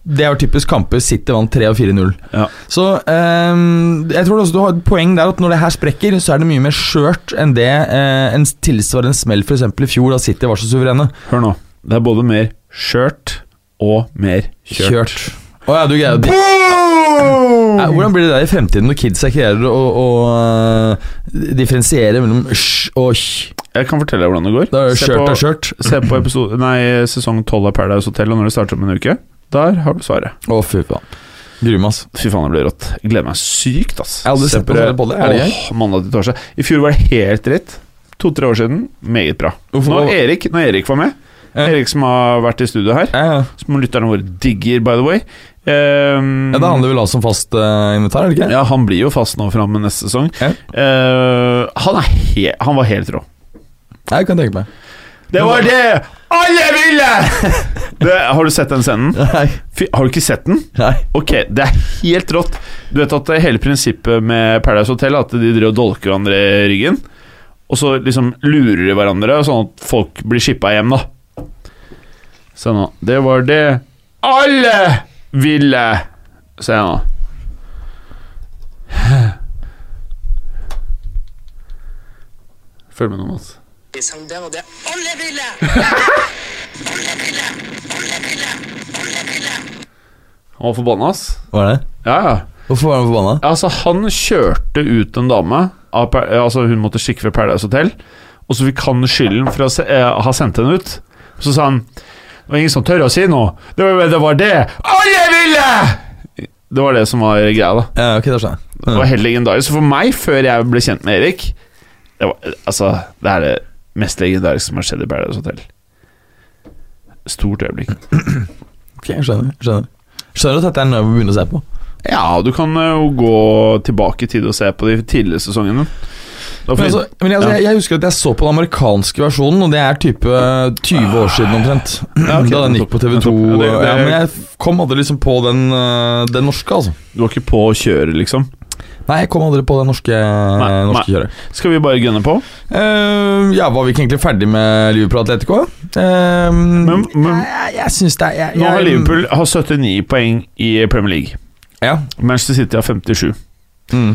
B: det var typisk kamper City vant 3 og 4-0.
C: Ja.
B: Så ehm, jeg tror også du har et poeng der at når det her sprekker, så er det mye mer skjørt enn det eh, en tilsvarende smell f.eks. i fjor, da City var så suverene.
C: Hør nå. Det er både mer skjørt og mer kjørt.
B: Å ja, du greier å drikke
C: Boom!
B: Ja, hvordan blir det der i fremtiden når kidsa ikke greier å, å øh, differensiere mellom sj og sj?
C: Jeg kan fortelle deg hvordan det går.
B: Da er det
C: Se
B: skjørt
C: på-
B: og skjørt.
C: Se på episode, nei, sesong 12 av Paradise Hotel, og når det starter om en uke, der har du svaret.
B: Å, fy faen. Gruer meg, ass.
C: Fy faen, det blir rått. Jeg gleder meg sykt, ass.
B: Jeg har aldri
C: Se
B: sett på sånne boller. Er det
C: Åh, mandag til torsdag. I fjor var det helt dritt. To-tre år siden, meget bra.
B: Hvorfor-
C: Når Erik, når Erik var med
B: Ja.
C: Erik som har vært i studio her,
B: Ja, ja.
C: som lytterne våre digger, by the way. Ehm,
B: ja, det handler vel altså om fast øh, invitar, er det ikke?
C: ja, han blir jo fast nå fram med neste sesong.
B: Ja.
C: Eh, han, er he han var helt rå.
B: Jeg kan
C: [laughs]
B: tenke meg.
C: Det var det alle ville! [laughs] det, har du sett den scenen?
B: Nei.
C: Fy, har du ikke sett den?
B: Nei.
C: Ok, det er helt rått. Du vet at det hele prinsippet med Paradise Hotel er at de driver og dolker hverandre i ryggen, og så liksom lurer de hverandre, sånn at folk blir shippa hjem, da. Se nå. Det var det alle ville! Se nå. Følg med nå, Mats.
D: De sang den, og det alle ville!
C: Han var forbanna, ass.
B: Var det?
C: Ja, ja.
B: Hvorfor var han forbanna?
C: Altså, han kjørte ut en dame av, Pa- Altså, hun måtte stikke ved Paradise Hotel Og så fikk han skylden for å se, eh, ha sendt henne ut Så sa han Det var ingen som tørre å si noe Det var det, var det. Alle ville! Det var det som var greia da
B: Ja, ok, da skjønner jeg.
C: Det var helt legendarisk Så for meg, før jeg ble kjent med Erik det var, Altså, det er det mest legendariske som har skjedd i Paradise Hotel Stort øyeblikk
B: Ok, jeg skjønner. Skjønner Skjønner at dette er noe jeg må begynne å se på.
C: Ja, du kan eh, jo gå tilbake i tid og se på de tidligere sesongene Da får
B: Men,
C: vi-
B: altså, men altså,
C: Ja.
B: jeg, jeg husker at jeg så på den amerikanske versjonen, og det er type 20 år siden omtrent.
C: Ja, ok,
B: da den gikk
C: nettopp,
B: på TV2.
C: nettopp. Ja,
B: Ja,
C: det- det-
B: men jeg kom aldri liksom på den, øh, den norske, altså.
C: Du var ikke på å kjøre, liksom?
B: Nei, jeg kom aldri på det norske, eh,
C: Nei,
B: norske
C: nei.
B: kjøret.
C: Skal vi bare gunne på?
B: Eh, ja, var vi ikke egentlig ferdig med Liverpool Atletico? Uh,
C: Men, men
B: jeg, jeg syns det er jeg,
C: nå har
B: jeg-
C: Liverpool har 79 poeng i Premier League.
B: Ja.
C: Manchester City har 57.
B: Mm.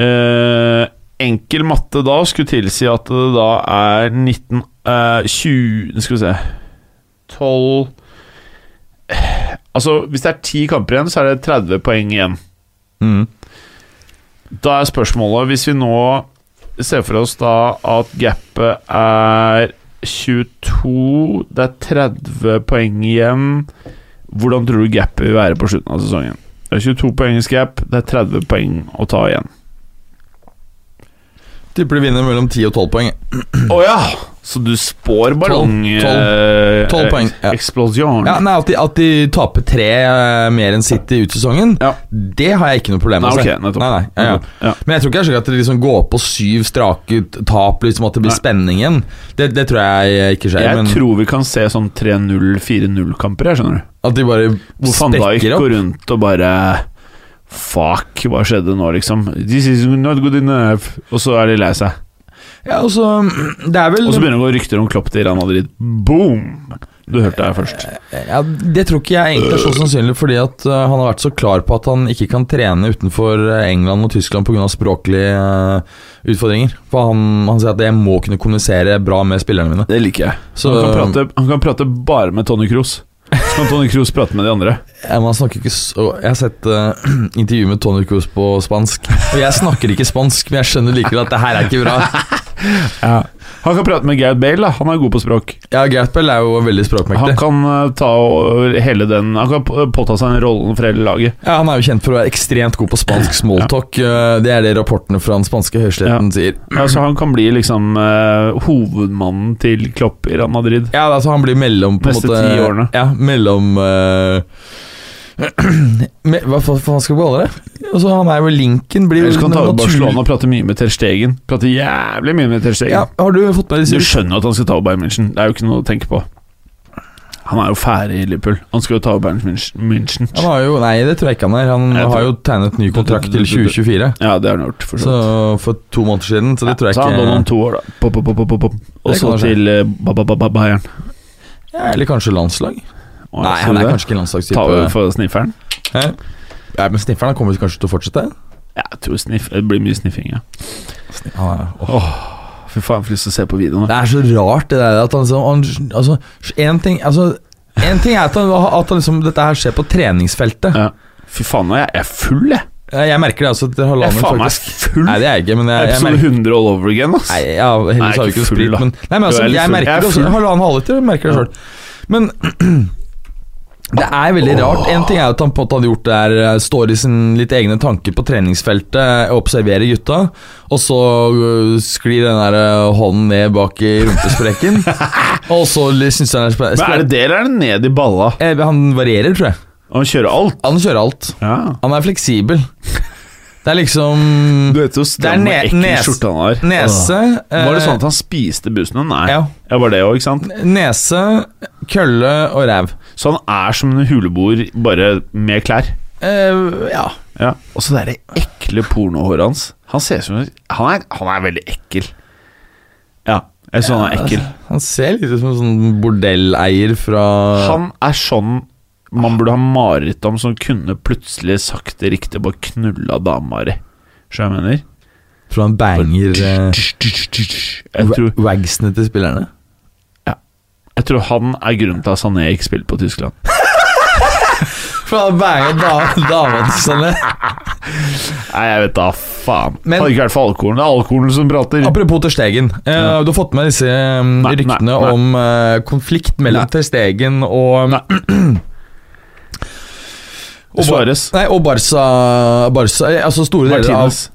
C: Eh, enkel matte da skulle tilsi at det da er 19 eh, 20 Skal vi se 12 Eh, Altså, hvis det er 10 kamper igjen, så er det 30 poeng igjen.
B: Mm.
C: Da er spørsmålet Hvis vi nå ser for oss da at gapet er 22 Det er 30 poeng igjen Hvordan tror du gapet vil være på slutten av sesongen? Det er 22 poengs gap, det er 30 poeng å ta igjen.
B: Tipper de vinner mellom 10 og 12 poeng.
C: Å ja! Så du spår ballong...
B: Tolv- tolv- tolv poeng, ja.
C: Eksplosjon.
B: Ja, nei, at, de, at de taper tre eh, mer enn City ut sesongen,
C: Ja.
B: det har jeg ikke noe problem med. å
C: Nei,
B: se.
C: ok, nettopp.
B: nei, nei, ja,
C: Nettopp,
B: ja.
C: ja.
B: Men jeg tror ikke det er slik at det liksom går på syv strake ut- tap, liksom at det blir
C: Nei.
B: spenning igjen. Det, det tror jeg ikke skjer.
C: Jeg
B: men
C: tror vi kan se sånn 3-0-4-0-kamper, jeg, skjønner du.
B: at de bare
C: Hvor Van Dijk
B: sprekker opp.
C: går rundt og bare Fuck, hva skjedde nå, liksom? This is not good enough. Og så er de lei seg.
B: Ja, og så Det er vel
C: Og så begynner det å gå rykter om Klopp til Real Madrid. Boom! Du hørte det her først.
B: Ja, Det tror ikke jeg egentlig er så sannsynlig, fordi at eh, han har vært så klar på at han ikke kan trene utenfor eh, England og Tyskland pga. språklige eh, utfordringer. For han, han sier at jeg må kunne kommunisere bra med spillerne mine.
C: Det liker jeg. um,
B: Så
C: han, kan prate, han kan prate bare med Tony Cruz. Så kan Tony Cruz prate med de andre.
B: Ja, men han snakker ikke så Jeg har sett eh, [clears throat] intervju med Tony Cruz på spansk, og jeg snakker ikke spansk, men jeg skjønner likevel at det her er ikke bra.
C: Han kan prate med Gareth Bale, da. Han er god på språk.
B: Ja, Gareth Bale er jo veldig
C: Han
B: språkmektig.
C: kan eh, ta over hele den Han kan p- påta seg den rollen for hele laget.
B: Ja, Han er jo kjent for å være ekstremt god på spansk smalltalk. eh, Det er det rapportene fra den spanske høyesteretten sier.
C: Ja, så han kan bli liksom eh, hovedmannen til Klopp i Real Madrid.
B: Ja, altså han blir mellom på en
C: Neste
B: måte,
C: ti årene.
B: Ja, mellom eh, [clears throat] me, Hva fa- faen skal vi kalle det? Altså, han er jo linken blir jo
C: Ellers kan han ta over
B: naturlig-
C: Barcelona og prate mye med Ter Stegen. Prate jævlig mye med Ter Stegen.
B: Ja, Har du fått med
C: Du
B: disse
C: skjønner jo at han skal ta over Bayern München. Det er jo ikke noe å tenke på. Han er jo ferdig i Liverpool. Han skal jo ta over Bayern München- München.
B: han har jo, Nei, det tror jeg ikke han er. Han
C: Jeg tror-
B: har jo tegnet ny kontrakt til 2024.
C: Ja, det har han gjort. For
B: Så
C: så,
B: For to måneder siden, så det tror jeg
C: så han låner om
B: ikke
C: to år, da. Pop, pop, pop, pop, pop. Og
B: Det
C: så
B: kan skje.
C: til eh, ba, ba, ba, ba, Bayern.
B: ja, Eller kanskje landslag?
C: Og
B: Nei,
C: så
B: han er
C: det.
B: kanskje ikke
C: Ta over
B: landslagstype.
C: for snifferen.
B: Hæ? Ja, men Snifferen han kommer kanskje til å fortsette?
C: Ja, Jeg tror sniff, det blir mye sniffing, ja.
B: Han er,
C: Fy faen, jeg får lyst til å se på videoen.
B: Det er så rart det der at han liksom han, Altså, en ting altså, En ting er at, han, at han liksom, dette her skjer på treningsfeltet.
C: Ja. Fy faen, nå er jeg- jeg er full, jeg.
B: Jeg, jeg merker det altså etter
C: Jeg
B: halvannen
C: er
B: uke.
C: faen meg
B: faktisk.
C: full.
B: Nei, det er jeg ikke, men jeg, jeg
C: Episode
B: merker
C: 100 all over again, ass.
B: Nei, ja,
C: Nei,
B: heldigvis har vi
C: ikke
B: ikke
C: full,
B: sprit,
C: da.
B: men Nei, men
C: Du
B: altså,
C: er litt
B: jeg
C: full.
B: merker
C: Jeg er
B: det også.
C: full.
B: Halvannen halvliter, jeg merker det sjøl. Men [clears throat] det er veldig rart. En ting er jo at han på en måte hadde gjort det her, eh, står i sin litt egne tanker på treningsfeltet, eh, observerer gutta, og så øh, sklir den der eh, hånden ned bak i rumpesprekken,
C: [laughs]
B: og så syns han er spen-
C: Men er det det, eller er det ned i balla?
B: Eh, Han varierer, tror jeg.
C: Og han kjører alt?
B: Han kjører alt.
C: Ja.
B: Han er fleksibel. Det er liksom
C: Du vet jo
B: Det
C: stram
B: er
C: og
B: ne-
C: ekkel
B: nes-
C: skjorte han har.
B: Nese
C: Åh. Var det
B: eh,
C: sånn at han spiste bussen? Nei. Ja.
B: Ja.
C: var det òg, ikke sant?
B: Nese, kølle og ræv.
C: Så han er som en huleboer, bare med klær.
B: Eh, ja.
C: Ja. Og så det er det ekle pornohåret hans. Han ser ut som han er, han er veldig ekkel. Ja, jeg synes han er ekkel.
B: Han ser litt ut som en sånn bordelleier fra
C: Han er sånn man burde ha mareritt om, som kunne plutselig sakte riktig bare knulla dama di. Skjønner du hva jeg mener?
B: Fra en
C: [laughs]
B: banger eh,
C: Jeg tror,
B: wa- Wagsene til spillerne.
C: jeg tror han er grunnen til at Sané ikke spilte på Tyskland.
B: Fra en banger da, dama til
C: [laughs]
B: Sané.
C: Nei, jeg vet da faen.
B: Men-
C: Hadde ikke vært for alkoholen. Det er alkoholen som prater.
B: Apropos Ter Stegen. Eh,
C: Ja.
B: Du har fått med disse eh,
C: nei,
B: ryktene
C: nei.
B: om eh, konflikt mellom
C: Nei.
B: Ter Stegen og og Bar-
C: Suarez.
B: Nei, og Barca, Barca eh, Altså store deler av
C: Martinez.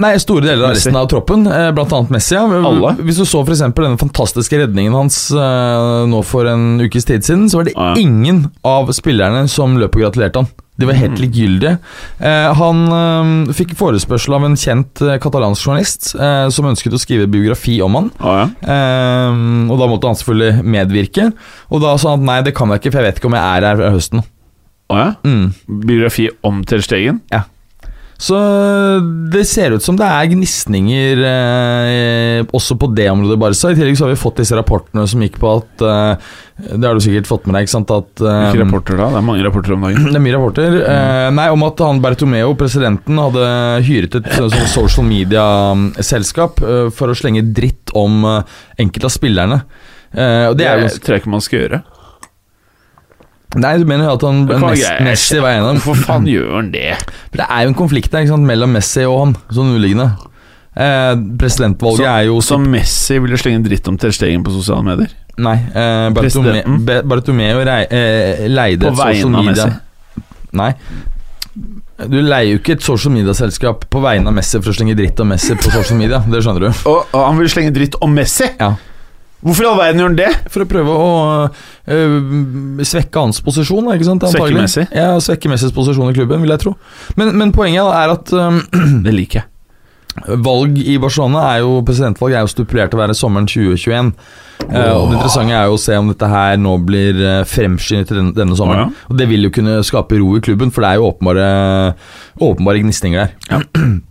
B: Nei, store deler av
C: Messi.
B: resten av troppen, eh, blant annet Messi. Ja.
C: Alle?
B: Hvis du så for eksempel denne fantastiske redningen hans eh, nå for en ukes tid siden, så var det
C: Ja.
B: ingen av spillerne som løp og gratulerte han. De var
C: Mm.
B: helt likegyldige. Eh, Han eh, fikk forespørsel av en kjent eh, katalansk journalist eh, som ønsket å skrive biografi om han.
C: Å ja.
B: Eh, Og da måtte han selvfølgelig medvirke. Og da sa han at nei, det kan jeg ikke, for jeg vet ikke om jeg er her fra høsten.
C: Å ja.
B: Mm.
C: Biografi om Ter Stegen.
B: Så øh, det ser ut som det er gnisninger eh, også på det området, Barca. I tillegg så har vi fått disse rapportene som gikk på at eh, Det har du sikkert fått med deg, ikke sant? At, eh,
C: Hvilke rapporter Mm. da? Det er mange rapporter om dagen.
B: det er mye rapporter. Eh, nei, om at han Bertomeo, presidenten, hadde hyret et sånn sånn social media-selskap eh, for å slenge dritt om eh, enkelte av spillerne. Eh, og [clears throat] det er jo
C: jeg tror jeg ikke man skal gjøre.
B: Nei, du mener jo at han
C: Det kan være
B: Messi,
C: greit.
B: Messi var en av dem?
C: Hvorfor faen gjør han det?
B: [laughs] For Det er jo en konflikt der ikke sant, mellom Messi og han, sånn underliggende. Eh, presidentvalget er jo
C: Som Messi ville slenge dritt om Ter Stegen på sosiale medier.
B: Nei, eh, Bartome,
C: Presidenten?
B: Be- Bartomeu rei, eh, leide
C: På
B: et
C: vegne
B: social
C: av
B: media
C: Messi.
B: Nei. Du leier jo ikke et social media-selskap på vegne av Messi for å slenge dritt om Messi på sosiale media. Det skjønner du.
C: Og, og han ville slenge dritt om Messi?
B: Ja.
C: Hvorfor i all verden gjør han det? [clears throat]
B: For å prøve å øh, svekke hans posisjon, da, ikke sant?
C: Svekke
B: antagelig.
C: Messi?
B: Ja, svekke Messis posisjon i klubben, vil jeg tro. Men, men poenget da er at eh, øhm,
C: Det liker jeg.
B: Valg i Barcelona er jo Presidentvalg er jo stipulert til å være sommeren 2021. Eh, og Det interessante er jo å se om dette her nå blir eh, fremskyndet til denne, denne sommeren.
C: Å,
B: Og Det vil jo kunne skape ro i klubben, for det er jo åpenbare, åpenbare gnisninger der.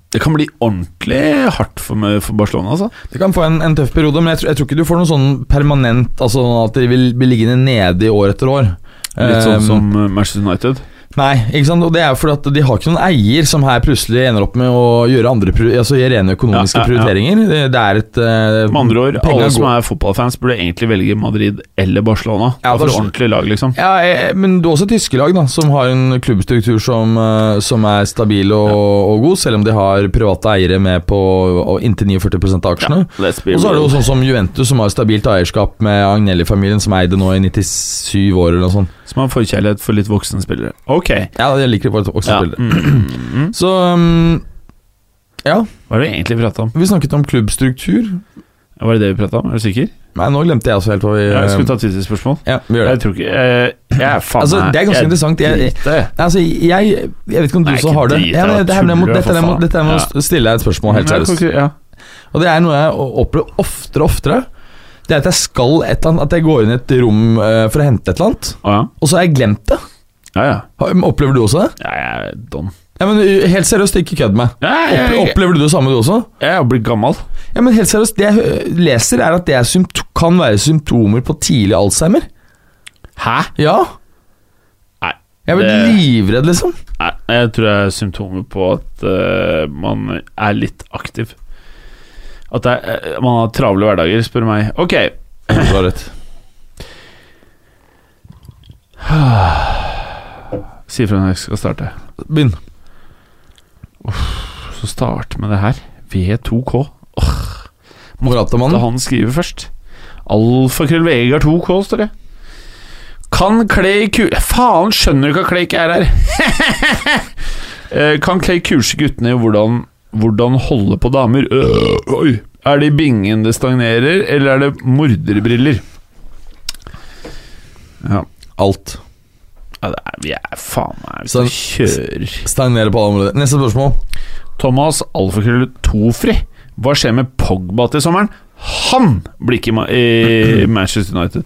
C: Det kan bli ordentlig hardt for, meg- for Barcelona, altså.
B: Det kan få en, en tøff periode, men jeg, tror- jeg tror ikke du får noe sånn permanent Altså at de vil bli liggende nede i år etter år.
C: Litt sånn
B: Eh,
C: som eh, Manchester United.
B: Nei, ikke sant? og det er jo fordi at de har ikke noen eier som her plutselig ender opp med å gjøre andre prior- altså gjøre rene økonomiske
C: Ja, ja, ja.
B: prioriteringer. Det, det er et eh,
C: Med andre ord,
B: penga
C: alle som
B: går-
C: er fotballfans, burde egentlig velge Madrid eller Barcelona.
B: Ja,
C: Ja, for
B: Barcelona.
C: ordentlig lag, liksom.
B: ja, eh, men det er også tyske lag da, som har en klubbstruktur som, eh, som er stabil og, og god, selv om de har private eiere med på og inntil 49 av aksjene.
C: Let's be
B: Og så er det jo
C: real.
B: sånn som Juventus, som har stabilt eierskap med Agnelli-familien, som eide nå i 97 år eller noe sånt.
C: Som har forkjærlighet for litt voksne spillere. Ok.
B: Ja, jeg liker bare også
C: Ja. Mm.
B: spillere. Så um, Ja,
C: Hva er det vi egentlig prata om?
B: vi snakket om klubbstruktur.
C: Var det det vi prata om? Er du sikker?
B: Nei, nå glemte jeg også helt hva vi
C: Ja, jeg skulle ta et siste spørsmål.
B: Ja, vi gjør
C: Jeg
B: det.
C: tror ikke eh, Jeg er faen
B: Altså,
C: meg-
B: det er ganske
C: jeg
B: interessant. Jeg-
C: driter.
B: Altså, jeg, jeg vet ikke om du
C: Nei,
B: så
C: ikke
B: har det.
C: drit,
B: Ja, men
C: jeg
B: det her, jeg må,
C: tuller,
B: dette,
C: for
B: jeg må,
C: faen.
B: dette jeg må stille deg et spørsmål, helt
C: Ja,
B: seriøst.
C: ok, Ja.
B: Og det er noe jeg o- opplever oftere og oftere. Det er at jeg skal et eller annet At jeg går inn i et rom eh, for å hente et eller annet,
C: Å, ja.
B: og så har jeg glemt det.
C: Ja, ja.
B: Har- Opplever du også det?
C: Ja, Jeg er don.
B: Ja, men uh, Helt seriøst, ikke kødd med meg.
C: Ja, jeg,
B: Opple-
C: jeg,
B: Opplever du det samme, du også?
C: jeg er blitt gammel.
B: Ja, men helt seriøst, Det jeg hø- leser, er at det er sympt kan være symptomer på tidlig alzheimer.
C: Hæ?
B: Ja.
C: Nei.
B: Jeg er blitt
C: det- [clears throat]
B: livredd, liksom.
C: Nei, jeg tror det er symptomer på at eh, man er litt aktiv. At det er, eh, man har travle hverdager, spør du meg. Ok,
B: Du har rett.
C: si fra når jeg skal starte.
B: Begynn.
C: Så start med det her. V2K. Da
B: Morata-mannen.
C: han skriver først. Alfakrøll Vegard 2K, står det. Kan Clay ku... Faen, skjønner du ikke at Clay ikke er her? [laughs] Eh, kan Clay kurse guttene i hvordan, hvordan holde på damer? Øh, oi. Er det i bingen det stagnerer, eller er det morderbriller? Ja,
B: Alt.
C: ja det er, vi er faen meg Vi
B: Så-
C: skal kjøre
B: Stagnerer på alle områder. Neste spørsmål.
C: Thomas Alfakrøll Tofri. Hva skjer med Pogba til sommeren? Han blir ikke i Ma- i [clears throat] Manchester United.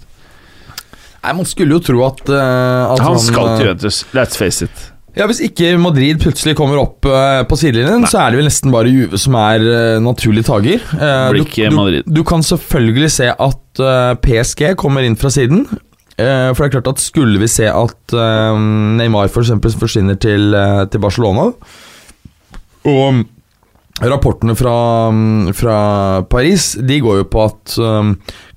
B: Nei, Man skulle jo tro at, eh, at
C: Altså, Han skal
B: eh,
C: til Juventus. Let's face it.
B: Ja, Hvis ikke Madrid plutselig kommer opp eh, på sidelinjen, så er det vel nesten bare Juve som er eh, naturlig tager. Eh,
C: Blir
B: du,
C: ikke
B: du,
C: Madrid.
B: du kan selvfølgelig se at eh, PSG kommer inn fra siden. eh, for det er klart at skulle vi se at eh, Neymar for eksempel forsvinner til, eh, til Barcelona Og mm, rapportene fra, mm, fra Paris De går jo på at eh,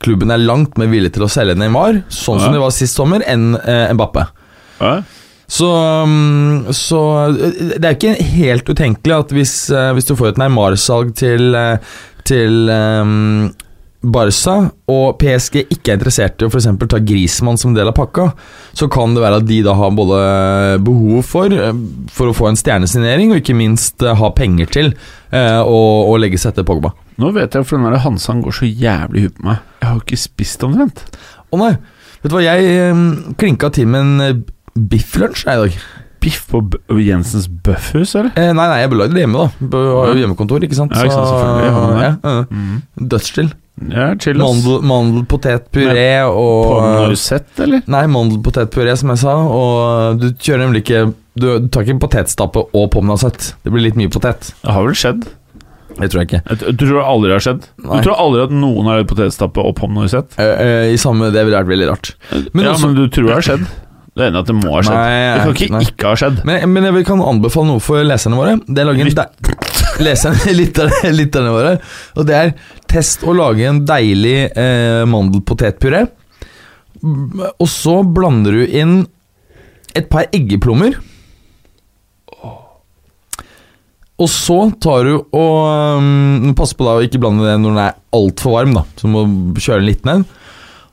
B: klubben er langt mer villig til å selge Neymar, sånn
C: Ja.
B: som de var sist sommer, enn eh, Mbappé. Så, um, så uh, det er jo ikke helt utenkelig at hvis, uh, hvis du får et Neymar-salg til, uh, til um, Barca, og PSG ikke er interessert i å for eksempel ta Griezmann som del av pakka, så kan det være at de da har både behov for uh, For å få en stjernesignering, og ikke minst uh, ha penger til uh, å, å legge seg etter Pogba.
C: Nå vet jeg hvorfor den der Hansan går så jævlig i huet på meg. Jeg har jo ikke spist omtrent.
B: Å nei! Vet du hva, jeg um, klinka til med en uh, bifflunsj jeg, i dag.
C: Biff på B Jensens Bøffhus, eller?
B: Eh, nei, nei, jeg belagde det hjemme, da. Bø- Har jo hjemmekontor, ikke sant.
C: Ja, ikke sant, selvfølgelig har man det.
B: ja, ja.
C: Mm.
B: Dødschill.
C: Ja, chill, ass.
B: Mandel, mandelpotetpuré og
C: Pommes eller?
B: Nei, mandelpotetpuré, som jeg sa. Og eh, du kjører nemlig ikke Du, du tar ikke potetstappe og pommes nauset. Det blir litt mye potet.
C: Det har vel skjedd?
B: Det tror jeg ikke.
C: Jeg t- Du tror det aldri har skjedd?
B: Nei.
C: Du tror aldri at noen har lagd potetstappe og pommes noisette?
B: Eh, eh, I samme Det ville vært veldig rart. Men
C: Ja,
B: også-
C: men du tror det har skjedd? Du er enig i at det må ha skjedd?
B: Nei,
C: det kan
B: jeg-
C: ikke
B: nei.
C: ikke ha skjedd.
B: Men, men jeg vil- kan anbefale noe for leserne våre. Det er å lage en de leserne, [laughs] lytterne, lytterne våre. Og det er test å lage en deilig eh, mandelpotetpuré. Mm, Og så blander du inn et par eggeplommer. Og så tar du og mm, Pass på da å ikke blande det når den er altfor varm, da. Så du må kjøle den litt ned.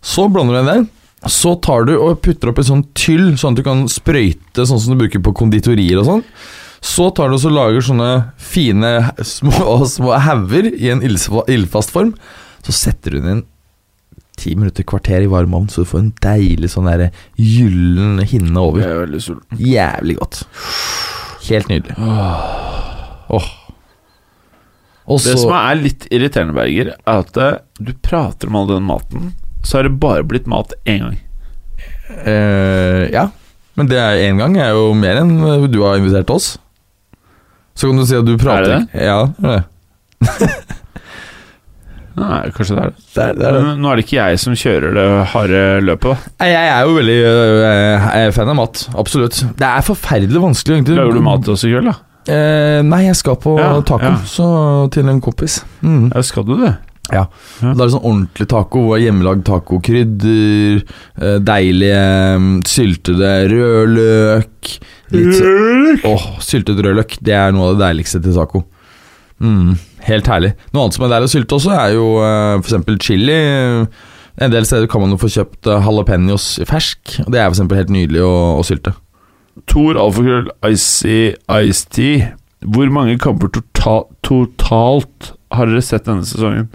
B: Så blander du den der. Så tar du og putter opp i sånn tyll, sånn at du kan sprøyte, sånn som du bruker på konditorier og sånn. Så tar du og så lager sånne fine små, [laughs] små hauger i en ildsfa- ildfast form. Så setter du den inn ti minutter, kvarter i varm ovn, så du får en deilig sånn derre gyllen hinne over.
C: er veldig sulten.
B: Jævlig godt. Helt nydelig. Åh. Og
C: Det som
B: så
C: er litt irriterende, Berger, er at eh, du prater om all den maten, så har det bare blitt mat én gang.
B: eh, Ja. Men det er én gang er jo mer enn eh, du har invitert oss. Så kan du si at du prater
C: Er det
B: ikke- Ja, det er det.
C: Nei, kanskje det er det.
B: Det er, det er det.
C: Men nå er det ikke jeg som kjører det harde løpet, da.
B: Nei, Jeg er jo veldig øh, øh, fan av mat. Absolutt. Det er forferdelig vanskelig. egentlig.
C: Lager du mat til oss i kveld, da?
B: Eh, nei, jeg skal på
C: Ja,
B: taco
C: ja.
B: Så til en kompis. Mm.
C: Ja, skal du det?
B: Ja.
C: Ja.
B: Da er det sånn ordentlig taco. Hvor det er hjemmelagd tacokrydder, eh, deilige mm, syltede rødløk litt så- Åh, Syltet rødløk, det er noe av det deiligste til taco. Mm, helt herlig. Noe annet som er deilig å sylte også, er jo eh, for eksempel chili. En del steder kan man jo få kjøpt eh, jalapeños fersk. og Det er for eksempel helt nydelig å, å sylte.
C: Tor Alfakrøll Icy Ice Tea. Hvor mange kamper tota totalt har dere sett denne sesongen?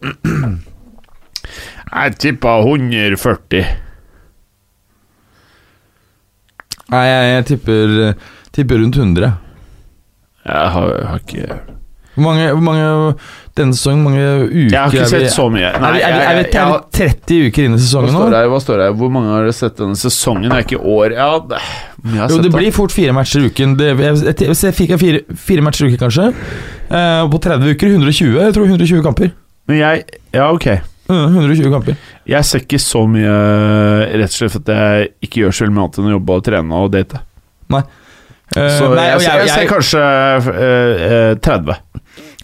C: [clears throat] Jeg tippa 140.
B: Nei, jeg, jeg tipper, tipper rundt 100.
C: Jeg har, jeg har ikke
B: Hvor mange, hvor mange denne sesongen, hvor mange uker
C: Jeg har ikke
B: er vi-
C: sett så mye.
B: er, vi, er, vi, er, vi, er vi 30 uker inn i
C: hva
B: sesongen nå?
C: står, det her, hva står det her? Hvor mange har dere sett denne sesongen? Det er ikke år Ja, det, men jeg har
B: Jo,
C: sett
B: det
C: da.
B: blir fort fire matcher i uken. Det, jeg, jeg, jeg, jeg fikk fire, fire matcher i uken, kanskje. Eh, på 30 uker 120. Jeg tror 120 kamper.
C: Men jeg Ja, ok.
B: Mm, 120 kamper.
C: Jeg ser ikke så mye rett og slett for at jeg ikke gjør så veldig mye annet enn å jobbe og trene og date.
B: Eh,
C: Så
B: nei,
C: jeg,
B: og
C: ser-
B: jeg,
C: jeg ser
B: jeg,
C: kanskje eh, eh, 30.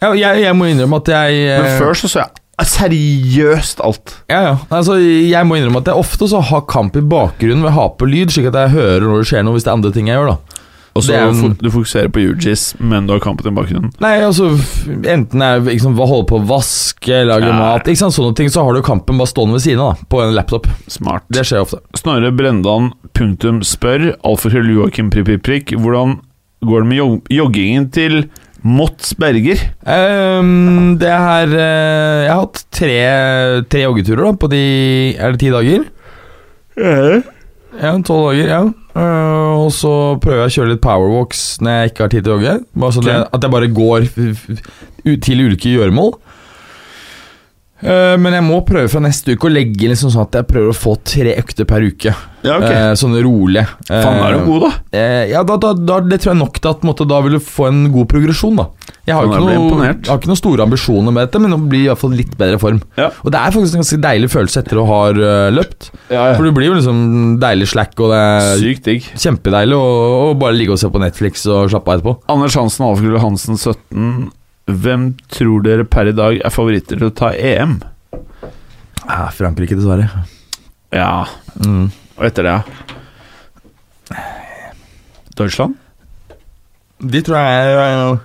B: jeg, jeg, jeg må innrømme at jeg
C: Men
B: eh,
C: før så så jeg seriøst alt.
B: ja, ja. Altså, Jeg må innrømme at jeg ofte så har kamp i bakgrunnen ved å ha på lyd, slik at jeg hører når det skjer noe, hvis det er andre ting jeg gjør. da
C: Og så
B: Det er en-
C: fo- du fokuserer på UGIS, men du har kampen i bakgrunnen.
B: Nei, altså f- Enten jeg liksom, holder på å vaske, lage
C: Ja.
B: mat ikke sant? Sånne ting, så har du kampen bare stående ved siden av, da, på en laptop.
C: Smart.
B: Det skjer ofte.
C: Snorre Brendan punktum spør Alfakrøll Joakim prikk, prikk, prikk, hvordan går det med jog joggingen til Mots Berger?
B: Ehm, det her eh, Jeg har hatt tre, tre joggeturer da, på de Er det ti dager?
C: Eh?
B: Ja, tolv dager. ja Eh, Og så prøver jeg å kjøre litt powerwalks når jeg ikke har tid til å jogge. Bare sånn
C: Ok.
B: at- at jeg bare går f- f- u- til ulike gjøremål. Eh, men jeg må prøve fra neste uke å legge liksom sånn at jeg prøver å få tre økter per uke.
C: Ja, ok.
B: Eh, sånne rolige. Eh,
C: Faen, er du god, da?
B: Eh, ja, da, da, da, det tror jeg nok til at på en måte, da vil du få en god progresjon, da. Jeg har, jo
C: Kan
B: ikke
C: jeg bli
B: noe,
C: imponert?
B: jeg har ikke noen store ambisjoner med dette, men å bli i hvert fall litt bedre form.
C: Ja.
B: Og det er faktisk en ganske deilig følelse etter å ha eh, løpt.
C: Ja,
B: For du blir jo liksom deilig slack, og det er
C: Eh, Sykt digg.
B: kjempedeilig å å bare ligge og se på Netflix og slappe av etterpå.
C: Anders Hansen, Alfakrøll Hansen 17. Hvem tror dere per i dag er favoritter til å ta E EM?
B: Ja, Frankrike, dessverre.
C: Ja,
B: Mm.
C: og etter det, ja? Deutschland?
B: De tror jeg er eh,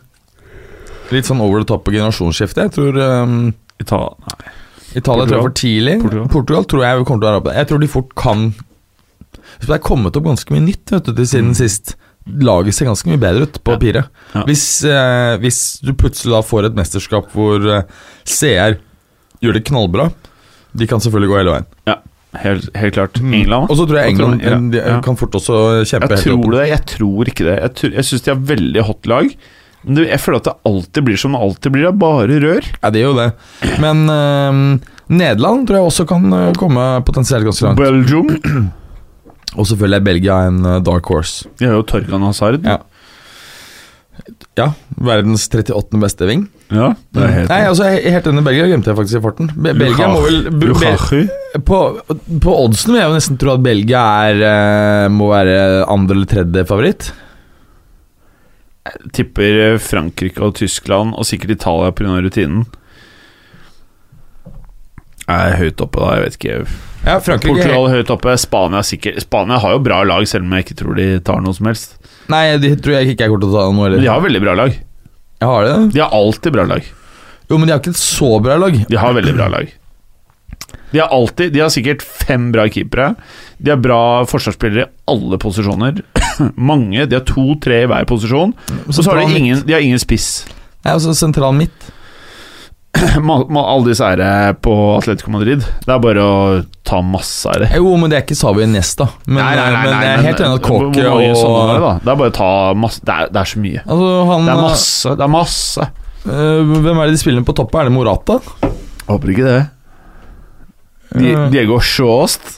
B: litt sånn over the top på generasjonsskiftet. Jeg tror eh,
C: Italia Nei.
B: Italia tror jeg er for tidlig.
C: Portugal.
B: Portugal, tror jeg kommer til å være oppe. Jeg tror de fort kan Så Det er kommet opp ganske mye nytt vet du, til siden sist. Laget ser ganske mye bedre ut
C: Mm.
B: på
C: Ja.
B: papiret.
C: Ja.
B: Hvis, eh, hvis du plutselig da får et mesterskap hvor eh, CR gjør det knallbra De kan selvfølgelig gå hele veien.
C: Ja, helt, helt klart. England?
B: Mm. Og så tror jeg
C: Hva tror
B: England
C: du? Ja,
B: de, eh,
C: ja.
B: kan fort også kjempe
C: Jeg
B: helt
C: tror
B: opp.
C: det, jeg tror ikke det. Jeg, tror- jeg syns de har veldig hot lag. Men det, jeg føler at det alltid blir som det alltid blir, det er bare rør.
B: Ja, det er jo det. Men eh, Nederland tror jeg også kan eh, komme potensielt ganske langt.
C: Belgium.
B: Og selvfølgelig er Belgia en eh, dark horse.
C: De har jo Torgan Hazard.
B: Ja. Ja, verdens 38. beste ving.
C: Ja, det er helt
B: Nei, altså, jeg er helt enig. Belgia glemte jeg faktisk i farten. Be Belgia må vel be
C: Lukaku.
B: be på, på oddsen vil jeg jo nesten tro at Belgia er, eh, må være andre eller tredje favoritt.
C: Tipper eh, Frankrike og Tyskland, og sikkert Italia pga. rutinen. Jeg er høyt oppe, da. Jeg vet ikke.
B: Ja, Frankrike
C: Portugal er høyt oppe. Spania er sikkert Spania har jo bra lag, selv om jeg ikke tror de tar noe som helst.
B: Nei, de tror jeg ikke jeg kommer til å ta noe
C: Men
B: heller.
C: de har veldig bra lag.
B: Jeg har det.
C: De har alltid bra lag.
B: Jo, men de har ikke et så bra lag.
C: De har veldig bra lag. De har alltid De har sikkert fem bra keepere. De har bra forsvarsspillere i alle posisjoner. [clears throat] Mange. De har to-tre i hver posisjon. Og så har de ingen, de har ingen spiss. [clears throat]
B: Nei, altså sentral midt.
C: Ma- ma- Alle disse er på Atletico Madrid. Det er bare å ta masse av det.
B: Jo, men det er ikke Savi Nesta. Men, men jeg er helt enig at Kåke
C: Hvor mange sånne er det,
B: og
C: da? Det er bare å ta masse Det er, det er så mye.
B: Altså, han
C: Det er masse. Det er masse.
B: eh, Hvem er det de spiller med på toppen? Er det Morata?
C: Håper ikke det. Di-
B: Eh,
C: Diego Sjåst.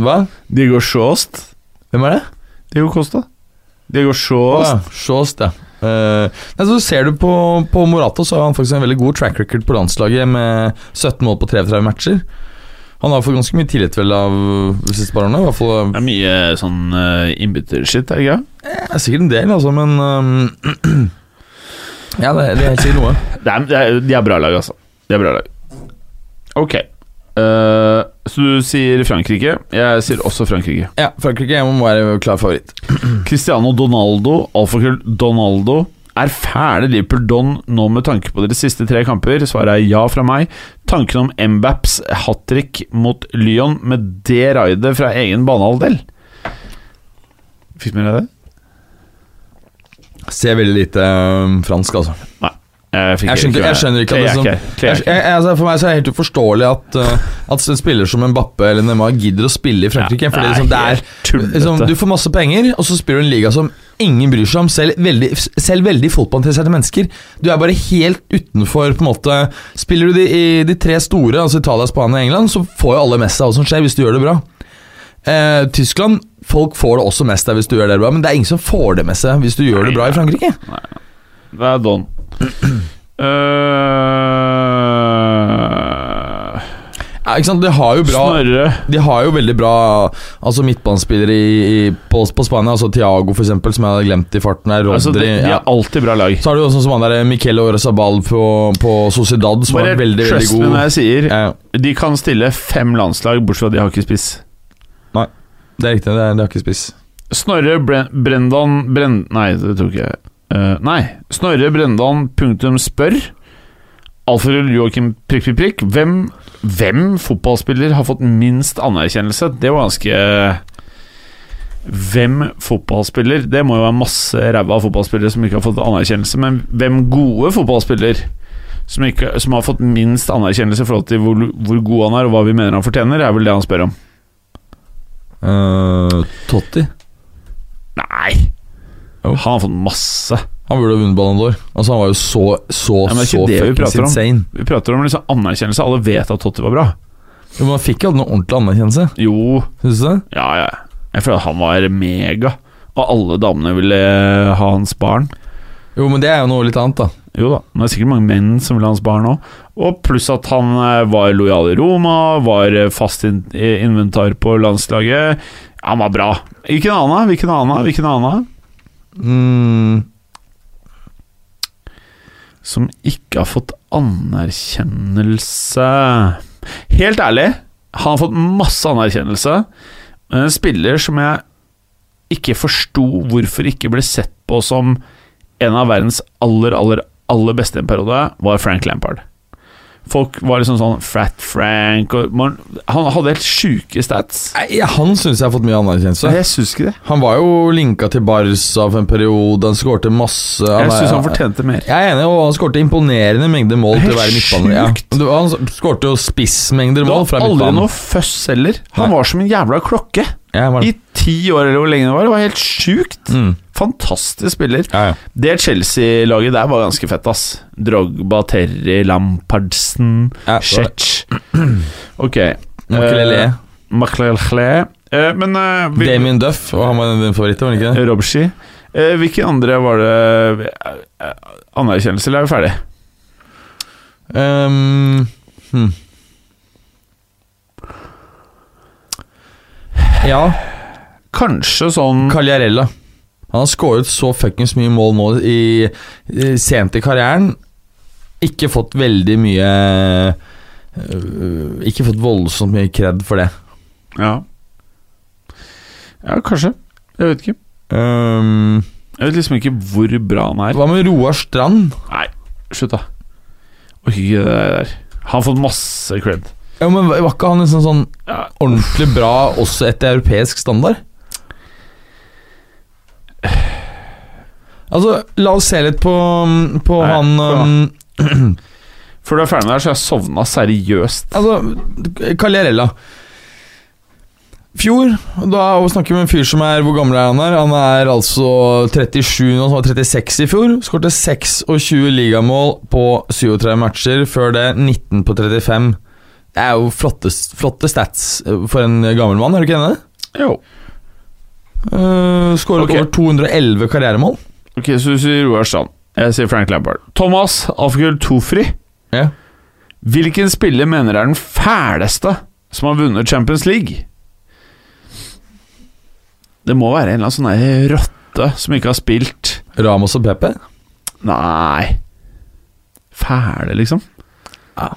B: Hva?
C: Diego Sjåst.
B: Hvem er det?
C: Diego Costa. Diego
B: Å
C: Sjåst.
B: ja. Sjåst, ja. Eh, nei, så ser du på, på Morata, så har han faktisk en veldig god track record på landslaget med 17 mål på 33 matcher. Han har fått ganske mye tillit vel av de siste par årene. I hvert fall
C: Det er mye sånn uh, innbyttershit, er det ikke? det?
B: det er sikkert en del, altså, men ehm, [clears throat] Ja, det, det er helt sikkert noe.
C: Det er, det er, de er bra lag, altså. De er bra lag. Ok. Eh, så du sier Frankrike. Jeg sier også Frankrike.
B: Ja, Frankrike må være klar favoritt.
C: Mm. Cristiano Donaldo, alfakrøll Donaldo. Er fæle Liverpool-don nå med tanke på deres siste tre kamper? Svaret er ja fra meg. Tanken om Mbaps hat trick mot Lyon med det raidet fra egen banehalvdel Fikk du med deg det?
B: Ser veldig lite ehm, fransk, altså.
C: Nei. Jeg, fikk
B: Jeg skjønner, jeg skjønner ikke at det
C: Kler
B: som,
C: jeg
B: jeg,
C: ikke, kler
B: jeg,
C: jeg ikke.
B: altså, For meg så er det helt uforståelig at, eh, at en spiller som Mbappe eller Neymar gidder å spille i Frankrike.
C: Ja,
B: fordi
C: det er
B: liksom, det er,
C: helt tullete.
B: liksom, du får masse penger, og så spiller du en liga som ingen bryr seg om. Selv veldig, selv veldig fotballinteresserte mennesker. Du er bare helt utenfor på en måte Spiller du de, i de tre store, altså Italia, Spania og England, så får jo alle med seg hva som skjer, hvis du gjør det bra. Eh, Tyskland Folk får det også med seg hvis du gjør det bra, men det er ingen som får det med seg hvis du gjør det bra i Frankrike.
C: Det er Don. Øh, Eh,
B: Ja, ikke sant? Det har jo bra
C: Snorre.
B: De har jo veldig bra altså midtbanespillere i, i, på, på Spania. Altså Tiago, for eksempel, som jeg hadde glemt i farten her. Rodri
C: Altså, de, de
B: ja.
C: er alltid bra lag.
B: Så har du jo sånn som han der Miquel Orazabal på, på Sociedad, som
C: Bare
B: er veldig, veldig
C: trust me
B: god.
C: når jeg sier
B: Ja,
C: De kan stille fem landslag, bortsett fra de har ikke spiss.
B: det er riktig, det, er, det har ikke spiss.
C: Snorre Bre Brendan Bren Nei, det tror ikke jeg. Eh, nei. Snorre Brendan punktum spør. Alfred Joakim prikk, prikk, prikk. Hvem, hvem fotballspiller har fått minst anerkjennelse? Det var ganske eh, Hvem fotballspiller? Det må jo være masse ræva fotballspillere som ikke har fått anerkjennelse, men hvem gode fotballspiller som, ikke, som har fått minst anerkjennelse i forhold til hvor, hvor god han er, og hva vi mener han fortjener, er vel det han spør om.
B: Eh, Totti.
C: Nei! Han har fått masse.
B: Han burde ha vunnet Ballon d'Or. Altså, han var jo så, så,
C: Ja, men det er
B: så
C: ikke det vi
B: fuckings
C: prater om.
B: insane.
C: Vi prater om liksom anerkjennelse. Alle vet at Totti var bra.
B: Jo, men han fikk jo aldri noe ordentlig anerkjennelse,
C: Jo,
B: syns du det?
C: ja, ja. Jeg føler at han var mega. Og alle damene ville eh, ha hans barn.
B: Jo, men det er jo noe litt annet, da.
C: Jo da, men det er sikkert mange menn som ville ha hans barn òg. Og pluss at han eh, var lojal i Roma, var eh, fast in i inventar på landslaget. Han var bra. Hvilken annen? Hvilken annen? Hvilken annen?
B: Mm,
C: Som ikke har fått anerkjennelse Helt ærlig, han har fått masse anerkjennelse. Men en spiller som jeg ikke forsto hvorfor ikke ble sett på som en av verdens aller, aller, aller beste i en periode, var Frank Lampard. Folk var liksom sånn Frat Frank og man, Han hadde helt sjuke stats.
B: nei, ja, han syns jeg har fått mye anerkjennelse.
C: Jeg syns ikke det.
B: Han var jo linka til Barca for en periode, han skårte masse
C: Jeg syns han fortjente mer.
B: Jeg er enig, og han skårte imponerende mengder mål til å være midtbaner. Ja.
C: Helt
B: Du- Han skårte jo spissmengder
C: Det
B: mål
C: var
B: fra
C: aldri
B: midtbanen.
C: noe føss heller. Han
B: Nei.
C: var som en jævla klokke.
B: Ja, var det.
C: I ti år eller hvor lenge det var. Det var helt sjukt.
B: Mm.
C: Fantastisk spiller.
B: Ja, ja.
C: Det Chelsea-laget der var ganske fett, ass. Drogba, Terry, Lampardsen,
B: Ja, det var det.
C: Cech Ok.
B: Makelele,
C: Eh, Makelele. Eh, men eh, vi-
B: Damien Duff, og han var din favoritt, var han ikke det?
C: Robshi. Eh, hvilke andre var det eh, Anerkjennelse, eller er vi ferdig?
B: Ehm, hm. Ja,
C: Kanskje sånn
B: Cagliarella. Han har skåret så fuckings mye mål nå i, i, sent i karrieren. Ikke fått veldig mye øh, Ikke fått voldsomt mye kred for det.
C: Ja. ja, kanskje. Jeg vet ikke.
B: Ehm,
C: Jeg vet liksom ikke hvor bra han er.
B: hva med Roar Strand?
C: Nei, slutt, da. Orker ikke det der. Han har fått masse cred.
B: Ja, men Var ikke han liksom sånn
C: Ja.
B: ordentlig bra også etter europeisk standard? Altså, la oss se litt på, på
C: Nei,
B: han um,
C: bra.
B: øhm,
C: Før du er ferdig med det, her, så har jeg sovna seriøst.
B: Altså, Cagliarella. Fjor, da snakker vi med en fyr som er Hvor gammel er han her? Han er altså 37 nå, som var 36 i fjor. Skårte 26 ligamål på 37 matcher. Før det 19 på 35. Det er jo flotte, flotte stats for en gammel mann, er du ikke enig? i det?
C: Jo.
B: Uh, Skåret
C: Ok.
B: over 211 karrieremål.
C: Ok, så du sier Roar Strand. sånn. Jeg sier Frank Lampard. Thomas Alfgøl Tofri.
B: Ja.
C: Hvilken spiller mener er den fæleste som har vunnet Champions League? Det må være en eller annen sånn der rotte som ikke har spilt
B: Ramos og Pepe?
C: Nei Fæle, liksom?
B: Ja.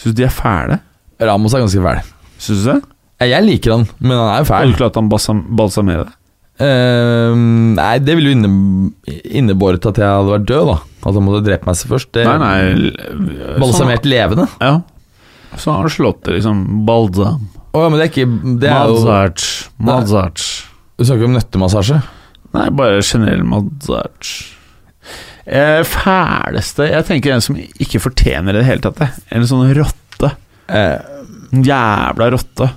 C: Syns du de er fæle?
B: Ramos er ganske fæl.
C: Syns du det?
B: Ja, Jeg liker han, men han er jo
C: Har
B: fæl.
C: du klart han balsam balsamerer deg?
B: Eh, nei, det ville jo inne, innebåret at jeg hadde vært død, da. At han måtte drepe meg seg først. Det,
C: Nei, nei l-
B: Balsamert levende?
C: sånn- Ja. Så har han slått det, liksom. Balsam.
B: Å ja, men det er ikke Det er jo
C: Mozart. Mozart.
B: Du snakker om nøttemassasje?
C: Nei, bare generell Mozart. Eh, fæleste Jeg tenker en som ikke fortjener det i det hele tatt. jeg. En sånn rotte.
B: Eh,
C: En jævla rotte.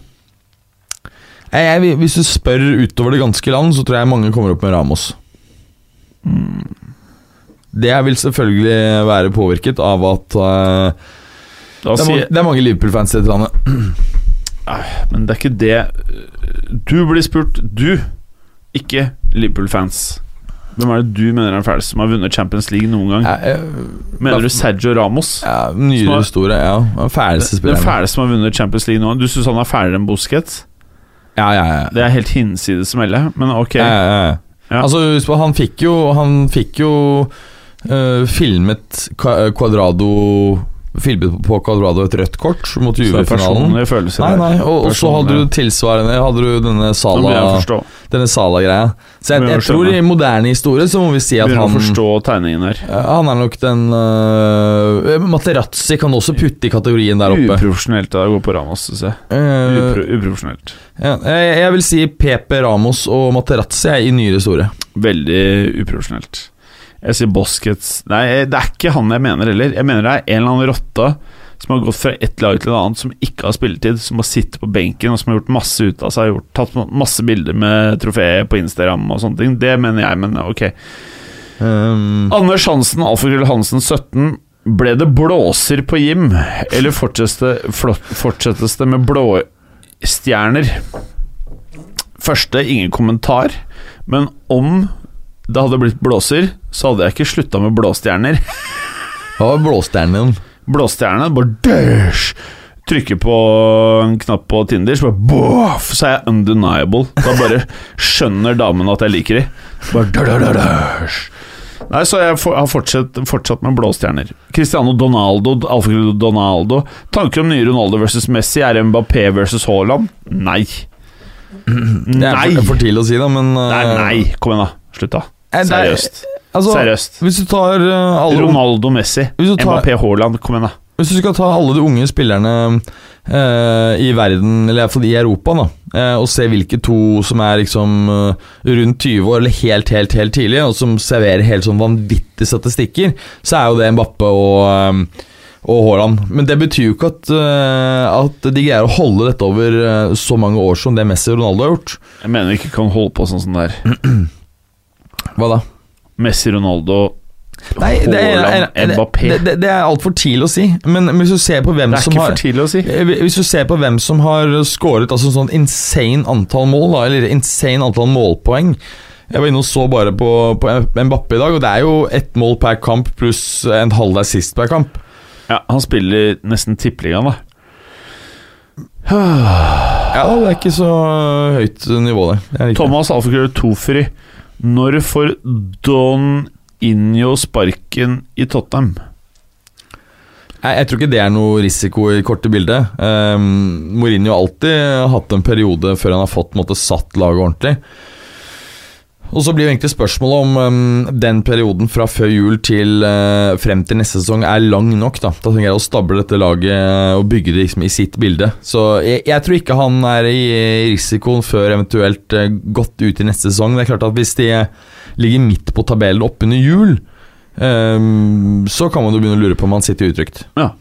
B: jeg, jeg, hvis du spør utover det ganske land, så tror jeg mange kommer opp med Ramos. Det vil selvfølgelig være påvirket av at eh,
C: Da
B: det, er mange,
C: sier,
B: det er mange Liverpool-fans i dette
C: Mm.
B: landet.
C: men det er ikke det Du blir spurt, du, ikke Liverpool-fans. Hvem er det du mener er den fæleste som har vunnet Champions League noen gang?
B: Eh, eh,
C: Mener du Sergio Ramos?
B: ja, nyere
C: Smart.
B: historie, ja. Den Fæleste
C: Den
B: spilleren.
C: fæleste som har vunnet Champions League nå? Du syns han er fælere enn Busquets?
B: Ja, ja, ja.
C: Det er helt hinsides melle, men ok.
B: Ja, ja, ja.
C: Ja.
B: Altså, husk på, han fikk jo Han fikk jo eh, filmet Ka- Cuadrado Filmet på Cuadrado et rødt kort mot
C: Så det er
B: Juve-finalen.
C: personlige følelser
B: Nei,
C: der.
B: nei, og, og så hadde
C: Personlige.
B: du tilsvarende Hadde du
C: Nå begynner jeg
B: denne
C: å
B: Sala
C: forstå.
B: Denne Sala-greia. Så jeg,
C: Begynner
B: jeg
C: å
B: tror
C: skjønne.
B: i moderne historie så må vi si at
C: Begynner
B: han
C: å forstå tegningen her.
B: Ja, Han er nok den øh, Materazzi kan du også putte i kategorien der oppe.
C: Uprofesjonelt av deg å gå på Ramos, syns jeg.
B: Eh,
C: Upro uprofesjonelt.
B: ja, jeg, jeg vil si Pepe Ramos og Materazzi er i nyere historie.
C: Veldig uprofesjonelt. Jeg sier Boskets Nei, det er ikke han jeg mener heller. Jeg mener det er en eller annen rotte som har gått fra ett lag til et annet, som ikke har spilletid, som har sittet på benken og som har gjort masse ut av seg, gjort, tatt masse bilder med trofeet på Instagram og sånne ting. Det mener jeg, men ok.
B: Um,
C: Anders Hansen, Alfakrøll Hansen 17. Ble det blåser på Jim, eller fortsettes det, flott- fortsettes det med blåstjerner? Første, ingen kommentar, men om det hadde blitt blåser, så hadde jeg ikke slutta med blåstjerner.
B: hva var blåstjernen din?
C: Blåstjerne, bare døsj! Trykker på en knapp på Tinder, så bare boff, så er jeg undeniable. Da bare skjønner damen at jeg liker de. Bare dødødødøsj. Nei, så jeg for, har fortsatt, fortsatt med blåstjerner. Cristiano Donaldo, Alfred Donaldo. Tanker om nye Ronaldo versus Messi. Er Mbappé versus Haaland? Nei.
B: Det er
C: Nei!
B: for, for tidlig å si, da, men uh,
C: Nei, nei. Kom igjen, da. Slutt, da.
B: Eh, det er-
C: Seriøst.
B: Altså,
C: Seriøst.
B: Hvis du tar uh, alle
C: Ronaldo, Messi.
B: Hvis du tar-
C: Mbappé, Haaland. Kom igjen, da.
B: Hvis du skal ta alle de unge spillerne eh, i verden, eller iallfall i Europa, da, eh, og se hvilke to som er liksom eh, rundt 20 år, eller helt, helt, helt tidlig, og som serverer helt sånn vanvittige statistikker, så er jo det Mbappe og eh, og Haaland. Men det betyr jo ikke at, eh, at de greier å holde dette over eh, så mange år som det Messi og Ronaldo har gjort.
C: Jeg mener vi ikke kan holde på sånn som det er.
B: Hva da?
C: Messi, Ronaldo,
B: Nei, det er,
C: Haaland, Mbappé.
B: det, det, det er altfor tidlig å si. Men hvis du ser på hvem
C: Det er
B: som
C: ikke
B: har Eh,
C: for tidlig å si.
B: Hvis du ser på hvem som har skåret altså sånn insane antall mål, da, eller insane antall målpoeng Jeg var inne og så bare på, på Mbappé i dag, og det er jo ett mål per kamp pluss en halv assist per kamp.
C: Ja, han spiller nesten tippeligaen, da.
B: Ja, da, det er ikke så høyt nivå, det. det er ikke.
C: Thomas Alfakrøll Tofri. Når får Don Injo sparken i Tottenham?
B: Jeg, jeg tror ikke det er noe risiko i korte bildet. Um, Mourinho har alltid hatt en periode før han har fått på en måte, satt laget ordentlig. Og så blir jo egentlig spørsmålet om um, den perioden fra før jul til eh, frem til neste sesong er lang nok. Da Da trenger jeg å stable dette laget og bygge det liksom, i sitt bilde. Så jeg, jeg tror ikke han er i risikoen før eventuelt eh, godt ut i neste sesong. Det er klart at Hvis de eh, ligger midt på tabellen oppunder jul, um, så kan man jo begynne å lure på om han sitter utrygt.
C: Ja.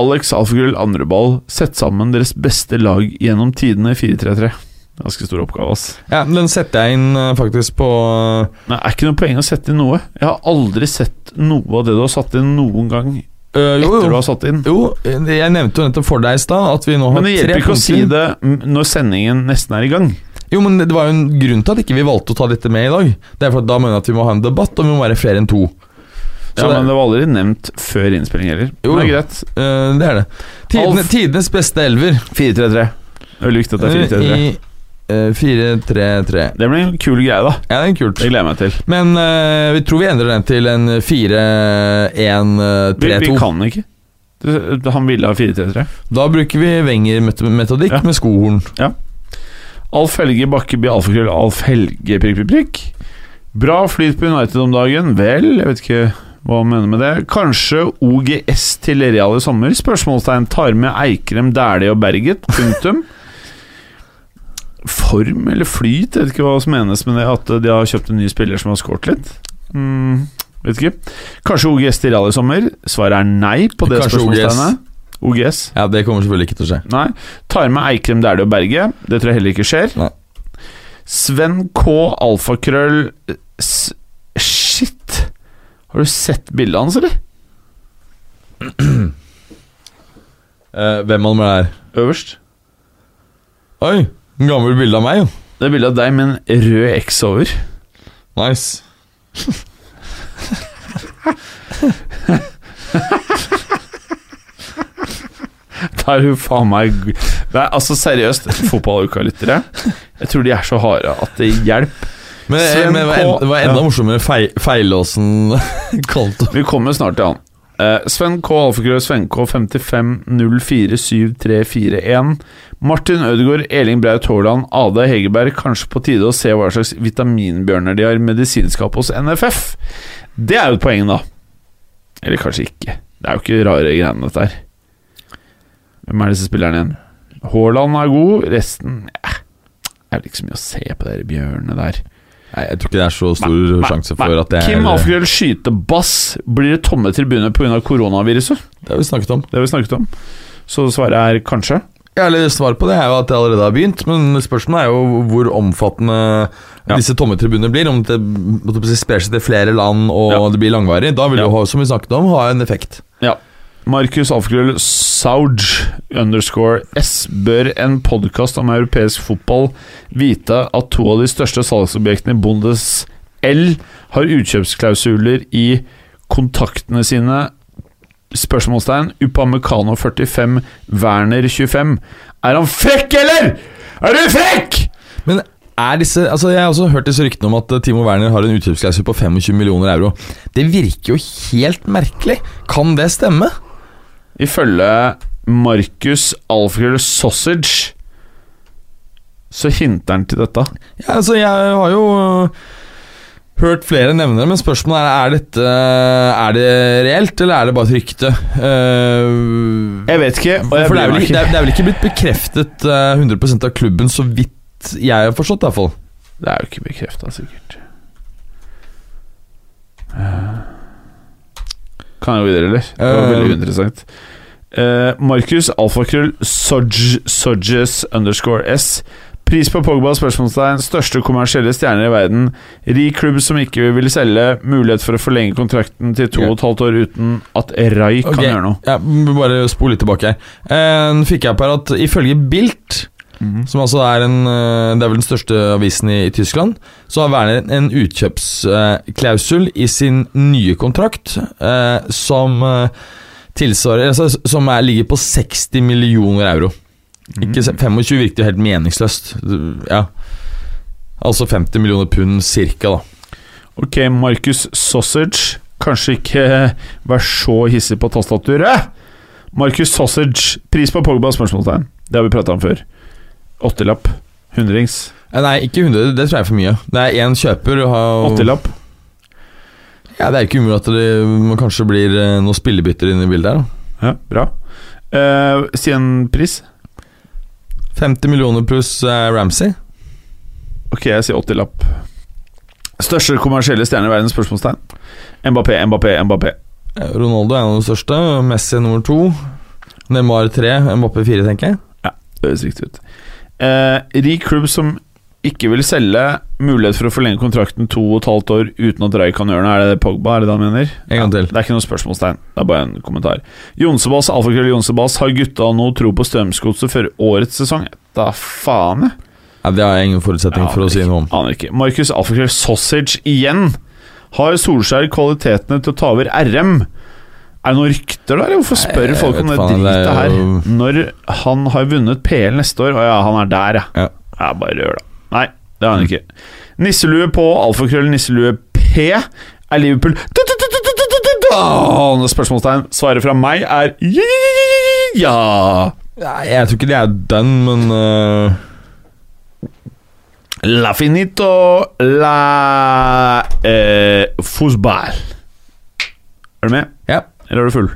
C: Alex Alfakrøll Andreball. Sett sammen deres beste lag gjennom tidene i 4-3-3. Ganske stor oppgave, ass.
B: Ja, men Den setter jeg inn eh, faktisk på eh,
C: Men det er ikke noe poeng å sette inn noe. Jeg har aldri sett noe av det du har satt inn noen gang
B: eh, jo,
C: etter du
B: jo.
C: har satt inn.
B: jo, eh, jeg nevnte jo nettopp for deg i stad at vi nå har
C: Men det hjelper
B: tre
C: ikke å si
B: punkter.
C: det mm, når sendingen nesten er i gang.
B: Jo, men det var jo en grunn til at ikke vi valgte å ta dette med i dag. Det er for at Da mener jeg at vi må ha en debatt, og vi må være flere enn to. Så
C: Ja,
B: det-
C: men det var aldri nevnt før innspilling heller.
B: Jo,
C: det er
B: jo.
C: greit.
B: Eh, det er det. Tidene,
C: Alf.
B: tidenes beste elver.
C: 4-3-3. Veldig viktig at det er 4-3-3.
B: I eh, 4-3-3.
C: Det blir en kul greie, da.
B: Ja, det er kult.
C: Det gleder jeg meg til.
B: Men eh, vi tror vi endrer den til en eh, 4-1-3-2.
C: Vi, vi kan ikke. Det- Han ville ha 4-3-3.
B: Da bruker vi Wenger-metodikk
C: Ja.
B: med skohorn.
C: Alf Helge Bakkeby, alfakrøll, Alf Helge, prikk, prikk, prikk. Bra flyt på United om dagen. Vel, jeg vet ikke hva han mener med det. Kanskje OGS til Real i sommer? Spørsmålstegn. Tar med Eikrem, Dæhlie og Berget. Punktum. Form eller flyt? Jeg vet ikke hva som menes med det. At de har kjøpt en ny spiller som har skåret litt. Mm, vet ikke. Kanskje OGS til Real i sommer? Svaret er nei på det
B: Kanskje OGS.
C: spørsmålstegnet. OGS.
B: Ja, Det kommer selvfølgelig ikke til å skje.
C: Nei. Tar med Eikrem Dæhlie og Berge. Det tror jeg heller ikke skjer.
B: Nei.
C: Sven K. Alfakrøll eh, s Shit! Har du sett bildet hans, eller?
B: Eh, hvem av dem er det her?
C: Øverst.
B: Oi! Gammelt bilde av meg, jo.
C: Det er bilde av deg med en rød X over. [laughs]
B: Nice.
C: Da er du faen meg g- Nei, altså seriøst, fotballuka-lyttere. Jeg tror de er så harde at det hjelper.
B: Men, eh,
C: Sven
B: men det, var
C: K.
B: en, det var enda
C: Ja.
B: morsommere fei, feilåsen [laughs] kalte
C: Vi kommer snart til han. Eh, Sven K. Alfakrøll Sven K. 55047341. Martin Ødegaard, Eling Braut Haaland, Ada Hegerberg. Kanskje på tide å se hva slags vitaminbjørner de har i medisinskapet hos NFF. Det er jo et poeng, da. Eller kanskje ikke. Det er jo ikke rare greiene, dette her. Hvem er disse spillerne igjen? Haaland er god, resten eh, Det er vel ikke så mye å se på de bjørnene der.
B: Nei, jeg tror ikke det er så stor sjanse for at det er
C: Kim Alfakrøll skyter bass. Blir det tomme tribuner pga. koronaviruset?
B: Det har vi snakket om.
C: Det har vi snakket om. Så svaret er kanskje.
B: Ja, eller Svaret på det er jo at det allerede har begynt, men spørsmålet er jo hvor omfattende
C: Ja.
B: disse tomme tribunene blir. Om det måtte jeg si, sprer seg til flere land og
C: Ja.
B: det blir langvarig. Da vil
C: Ja.
B: det jo, ha- som vi snakket om, ha en effekt.
C: Ja. Markus Alfakrøll Sauge underscore S. Bør en podkast om europeisk fotball vite at to av de største salgsobjektene i Bundes L har utkjøpsklausuler i kontaktene sine? Spørsmålstegn. Upamecano 45, Werner 25. Er han frekk, eller?! Er du frekk?!
B: Men er disse, altså Jeg har også hørt disse ryktene om at eh, Timo Werner har en utkjøpsklausul på 25 millioner euro. Det virker jo helt merkelig. Kan det stemme?
C: Ifølge Markus Alfred Sausage så hinter han til dette.
B: Ja, altså, jeg har jo øh, hørt flere nevne det, men spørsmålet er er dette øh, er det reelt, eller er det bare et rykte? Eh,
C: Jeg vet ikke, og jeg
B: for det er,
C: bryr
B: vel,
C: meg
B: ikke- det,
C: ikke.
B: er, det er vel ikke blitt bekreftet eh, 100 av klubben, så vidt jeg har forstått, i hvert fall.
C: Det er jo ikke bekrefta, sikkert. Eh, Kan jeg gå videre, eller? Det var
B: Eh,
C: veldig interessant. Eh, Markus Alfakrøll Sodge- Sodges underscore S. Pris på Pogba? spørsmålstegn Største kommersielle stjerner i verden. Rik klubb som ikke vil selge. Mulighet for å forlenge kontrakten til to
B: Ja.
C: og et halvt år uten at Rai kan
B: Ok,
C: gjøre noe.
B: Ja, m- bare spol litt tilbake her. Eh, Nå fikk jeg opp her at ifølge Bilt, som altså er en, eh, det er vel den største avisen i, i Tyskland, så har Werner en utkjøpsklausul eh, i sin nye kontrakt eh, som eh, tilsvarer altså, s- Som er, ligger på 60 millioner euro. Ikke se- 25 virker jo helt meningsløst. Ja. Altså 50 millioner pund cirka, da.
C: Ok, Markus Sausage. Kanskje ikke vær så hissig på tastaturet. Markus Sausage. Pris på Pogba? spørsmålstegn Det har vi prata om før. Åttelapp. Hundrings.
B: Eh, Nei, ikke 100, det tror jeg er for mye. Det er én kjøper. og har-
C: Åttelapp.
B: Ja, Det er ikke umulig at det man kanskje blir eh, noen spillebytter inne i bildet her. da.
C: Ja, bra. Eh, si en pris.
B: 50 millioner pluss eh, Ramsey.
C: Ok, jeg sier åttelapp. Største kommersielle stjerne i verden? spørsmålstegn Mbappé, Mbappé, Mbappé.
B: Eh, Ronaldo er en av de største. Messi nummer to. Neymar tre. Mbappé fire, tenker jeg.
C: Det høres riktig ut. Eh, rik klubb som ikke vil selge, mulighet for å forlenge kontrakten to og et halvt år uten at Rai kan gjøre noe. Er det det Pogba? Er det det han mener?
B: En gang til.
C: Det er ikke noe spørsmålstegn. Det er bare en kommentar. Jonsebass, alfakrøll Jonsebass, har gutta nå tro på Strømsgodset før årets sesong? Da faen, jeg.
B: Nei, det har jeg ingen forutsetning for å si noe om.
C: Aner ikke. Markus Alfakrell Sausage igjen. Har Solskjær kvalitetene til å ta over RM? Er det noen rykter der? Hvorfor spør
B: Jeg
C: folk om
B: vet
C: det
B: faen, det
C: dritet
B: er
C: her?
B: jo-
C: Når han har vunnet PL neste år Å ja, han er der, ja.
B: Ja. Mm.
C: Ja, bare rør, da. Nei, det har han ikke. Nisselue på alfakrøll nisselue P er Liverpool Da- Spørsmålstegn. Svaret fra meg er ja.
B: Nei, jeg tror ikke det er den, men øh,
C: La finito la eh, fotball. Er du med,
B: Ja.
C: eller er du full?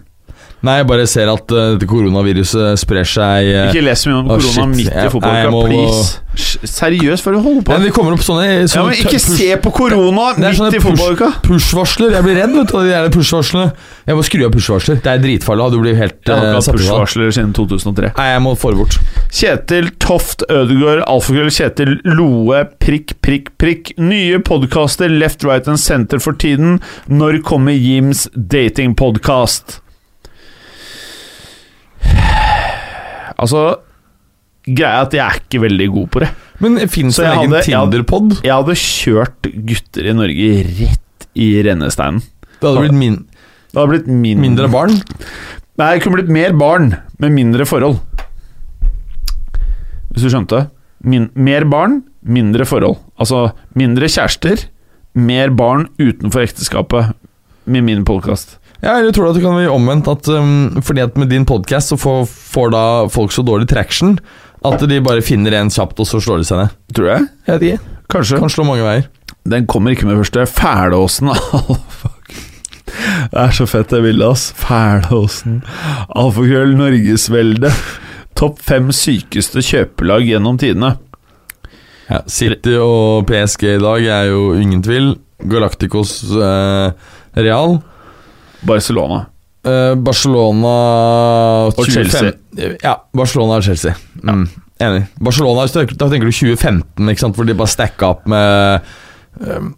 B: Nei, jeg bare ser at øh, dette koronaviruset sprer seg øh,
C: Ikke les så mye om
B: Å,
C: korona
B: shit.
C: midt i
B: Jeg- jeg
C: fotballkamp,
B: må-
C: please. Sj- Seriøst, hva er det du holder på
B: Ja, men
C: med?
B: det kommer opp sånne,
C: Ja,
B: sånne
C: men ikke
B: push-
C: se på korona
B: Det er sånne
C: midt i
B: push-
C: fotballuka!
B: Push-varsler. Jeg blir redd vet du, av de der push-varslene. Jeg må skru av push-varsler. Det er dritfarlig. da. Du blir helt
C: Jeg har
B: eh,
C: ikke hatt
B: satt ut av det.
C: push-varsler siden 2003.
B: Nei, jeg må få det bort.
C: Kjetil Toft Ødegaard, alfakrøll Kjetil Loe, prikk, prikk, prikk. Nye podkaster, Left, Right and Center for tiden. Når kommer Jims datingpodkast? Altså Greia er at jeg er ikke veldig god på det.
B: Men fins
C: Så
B: det en
C: jeg
B: egen
C: hadde- jeg hadde-
B: Tinder-pod?
C: Jeg hadde kjørt gutter i Norge rett i rennesteinen.
B: Det hadde blitt min
C: Det hadde blitt min
B: mindre barn.
C: Nei, det kunne blitt mer barn med mindre forhold. Hvis du skjønte? Min, mer barn, mindre forhold. Altså mindre kjærester, mer barn utenfor ekteskapet med min podkast.
B: Ja, eller tror du at det kan bli omvendt? At, um, fordi at med din podkast så får, får da folk så dårlig traction at de bare finner en kjapt, og så slår de seg ned.
C: Tror jeg.
B: Jeg vet ikke.
C: Kanskje.
B: Kan slå mange veier.
C: Den kommer ikke med første. Fælåsen. [laughs] Fuck. Det er så fett det bildet, ass. Fælåsen. Alfakrøll Norgesvelde. Topp fem sykeste kjøpelag gjennom tidene.
B: Ja, City og PSG i dag er jo ingen tvil. Galacticos eh, Real.
C: Barcelona.
B: Eh, Barcelona
C: Og Chelsea.
B: Ja, Barcelona og Chelsea. Mm, Enig. Barcelona, hvis du tenker- Da tenker du 2015, ikke sant? hvor de bare stacka opp med eh,